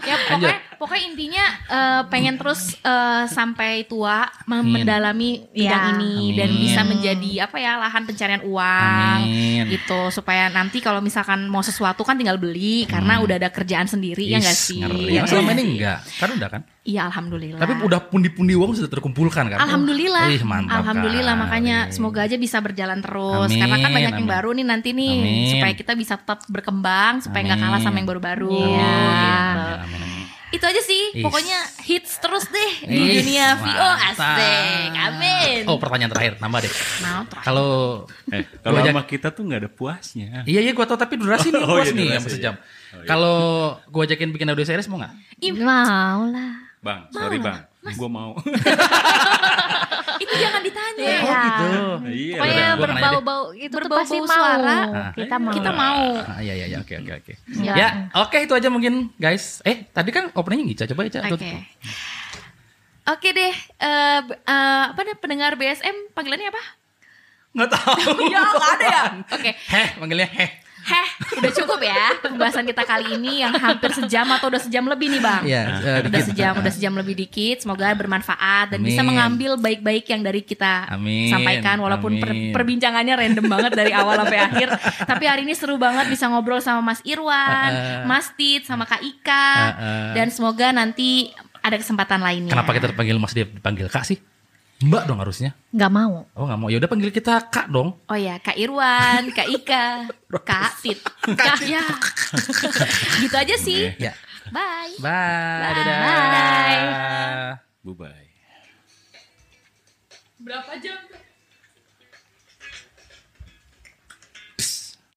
Speaker 1: ya pokoknya pokoknya intinya eh, pengen terus eh, sampai tua mem-
Speaker 2: Amin.
Speaker 1: mendalami bidang
Speaker 4: Ya.
Speaker 1: ini
Speaker 2: Amin.
Speaker 1: dan bisa menjadi apa ya lahan pencarian uang
Speaker 2: Amin.
Speaker 1: gitu supaya nanti kalau misalkan mau sesuatu kan tinggal beli karena udah ada kerjaan sendiri ya
Speaker 2: Ih,
Speaker 1: nggak sih?
Speaker 2: Hmm. Ngeri.
Speaker 1: Ya
Speaker 2: Emang
Speaker 1: nggak
Speaker 2: selama
Speaker 1: sih?
Speaker 2: ini enggak. Kan udah kan?
Speaker 1: Iya alhamdulillah.
Speaker 2: Tapi udah pundi-pundi uang sudah terkumpulkan kan?
Speaker 1: Alhamdulillah,
Speaker 2: Ih, mantap kan? Iya.
Speaker 1: alhamdulillah
Speaker 2: kali.
Speaker 1: makanya semoga aja bisa berjalan terus
Speaker 2: Amin,
Speaker 1: karena kan banyak yang
Speaker 2: amin.
Speaker 1: baru nih nanti nih
Speaker 2: Amin.
Speaker 1: supaya kita bisa tetap berkembang supaya nggak
Speaker 2: Amin. Oh, gitu.
Speaker 1: kalah sama yang baru-baru.
Speaker 2: Amin,
Speaker 1: Iya.
Speaker 2: amin, amin, amin.
Speaker 1: Itu aja sih,
Speaker 2: Is.
Speaker 1: pokoknya hits terus deh di
Speaker 2: Ih,
Speaker 1: dunia VO
Speaker 2: mantap.
Speaker 1: asik, amin.
Speaker 2: Oh pertanyaan terakhir, nambah deh.
Speaker 1: Mau terakhir.
Speaker 2: Kalau
Speaker 3: Eh, kalau
Speaker 2: Gua ajak-
Speaker 3: sama kita tuh nggak ada puasnya.
Speaker 2: iya iya gua tau tapi durasi nih
Speaker 3: Oh,
Speaker 2: puas
Speaker 3: iya,
Speaker 2: nih
Speaker 3: durasi,
Speaker 2: sampai
Speaker 3: iya.
Speaker 2: sejam.
Speaker 3: Oh, iya.
Speaker 2: Kalau gua ajakin bikin audio series mau nggak?
Speaker 4: mau lah
Speaker 3: Bang, sorry bang, gue mau.
Speaker 1: Itu jangan ditanya.
Speaker 4: Iya.
Speaker 3: Iya.
Speaker 1: Pokoknya
Speaker 2: Gua nanya
Speaker 3: benar.
Speaker 2: deh.
Speaker 4: berbau-bau itu tuh
Speaker 1: Berbau-bau
Speaker 4: pasti mau
Speaker 1: suara.
Speaker 2: Ah.
Speaker 4: kita mau
Speaker 1: Kita mau.
Speaker 2: Ah, iya iya iya oke oke oke.
Speaker 4: Ya.
Speaker 2: Ya oke itu aja mungkin guys. Eh tadi kan openingnya Gica coba Gica.
Speaker 1: Oke.
Speaker 2: tutup.
Speaker 1: Oke deh, eh, b- eh, apa nih pendengar BSM panggilannya apa?
Speaker 2: Iya, Nggak tahu.
Speaker 1: ya, Iya, nggak ada ya. Oke.
Speaker 2: Heh manggilnya heh.
Speaker 1: Heh. Udah cukup ya pembahasan kita kali ini yang hampir sejam atau udah sejam lebih nih bang.
Speaker 2: Iya, eh,
Speaker 1: Udah
Speaker 2: dikit.
Speaker 1: sejam, udah sejam lebih dikit. Semoga bermanfaat dan bisa
Speaker 2: Amin.
Speaker 1: mengambil baik-baik yang dari kita
Speaker 2: Amin.
Speaker 1: sampaikan. Walaupun per-
Speaker 2: Amin.
Speaker 1: perbincangannya random banget dari awal sampai akhir. Tapi hari ini seru banget bisa ngobrol sama Mas Irwan,
Speaker 2: Heeh.
Speaker 1: Mas Tit, sama Kak Ika.
Speaker 2: Heeh.
Speaker 1: Dan semoga nanti ada kesempatan lainnya.
Speaker 2: Uh-uh. Kenapa kita dipanggil Mas dia dipanggil Kak sih? Mbak dong harusnya.
Speaker 4: nggak mau
Speaker 2: Oh nggak mau. Ya udah panggil kita Kak dong.
Speaker 1: Oh ya, Kak Irwan, Kak Ika, Kak Tit. Kak ya. gitu aja sih.
Speaker 2: Ya.
Speaker 1: Bye.
Speaker 2: Bye.
Speaker 1: Bye.
Speaker 2: Dadah.
Speaker 1: Bye.
Speaker 3: Bye bye.
Speaker 1: Berapa jam?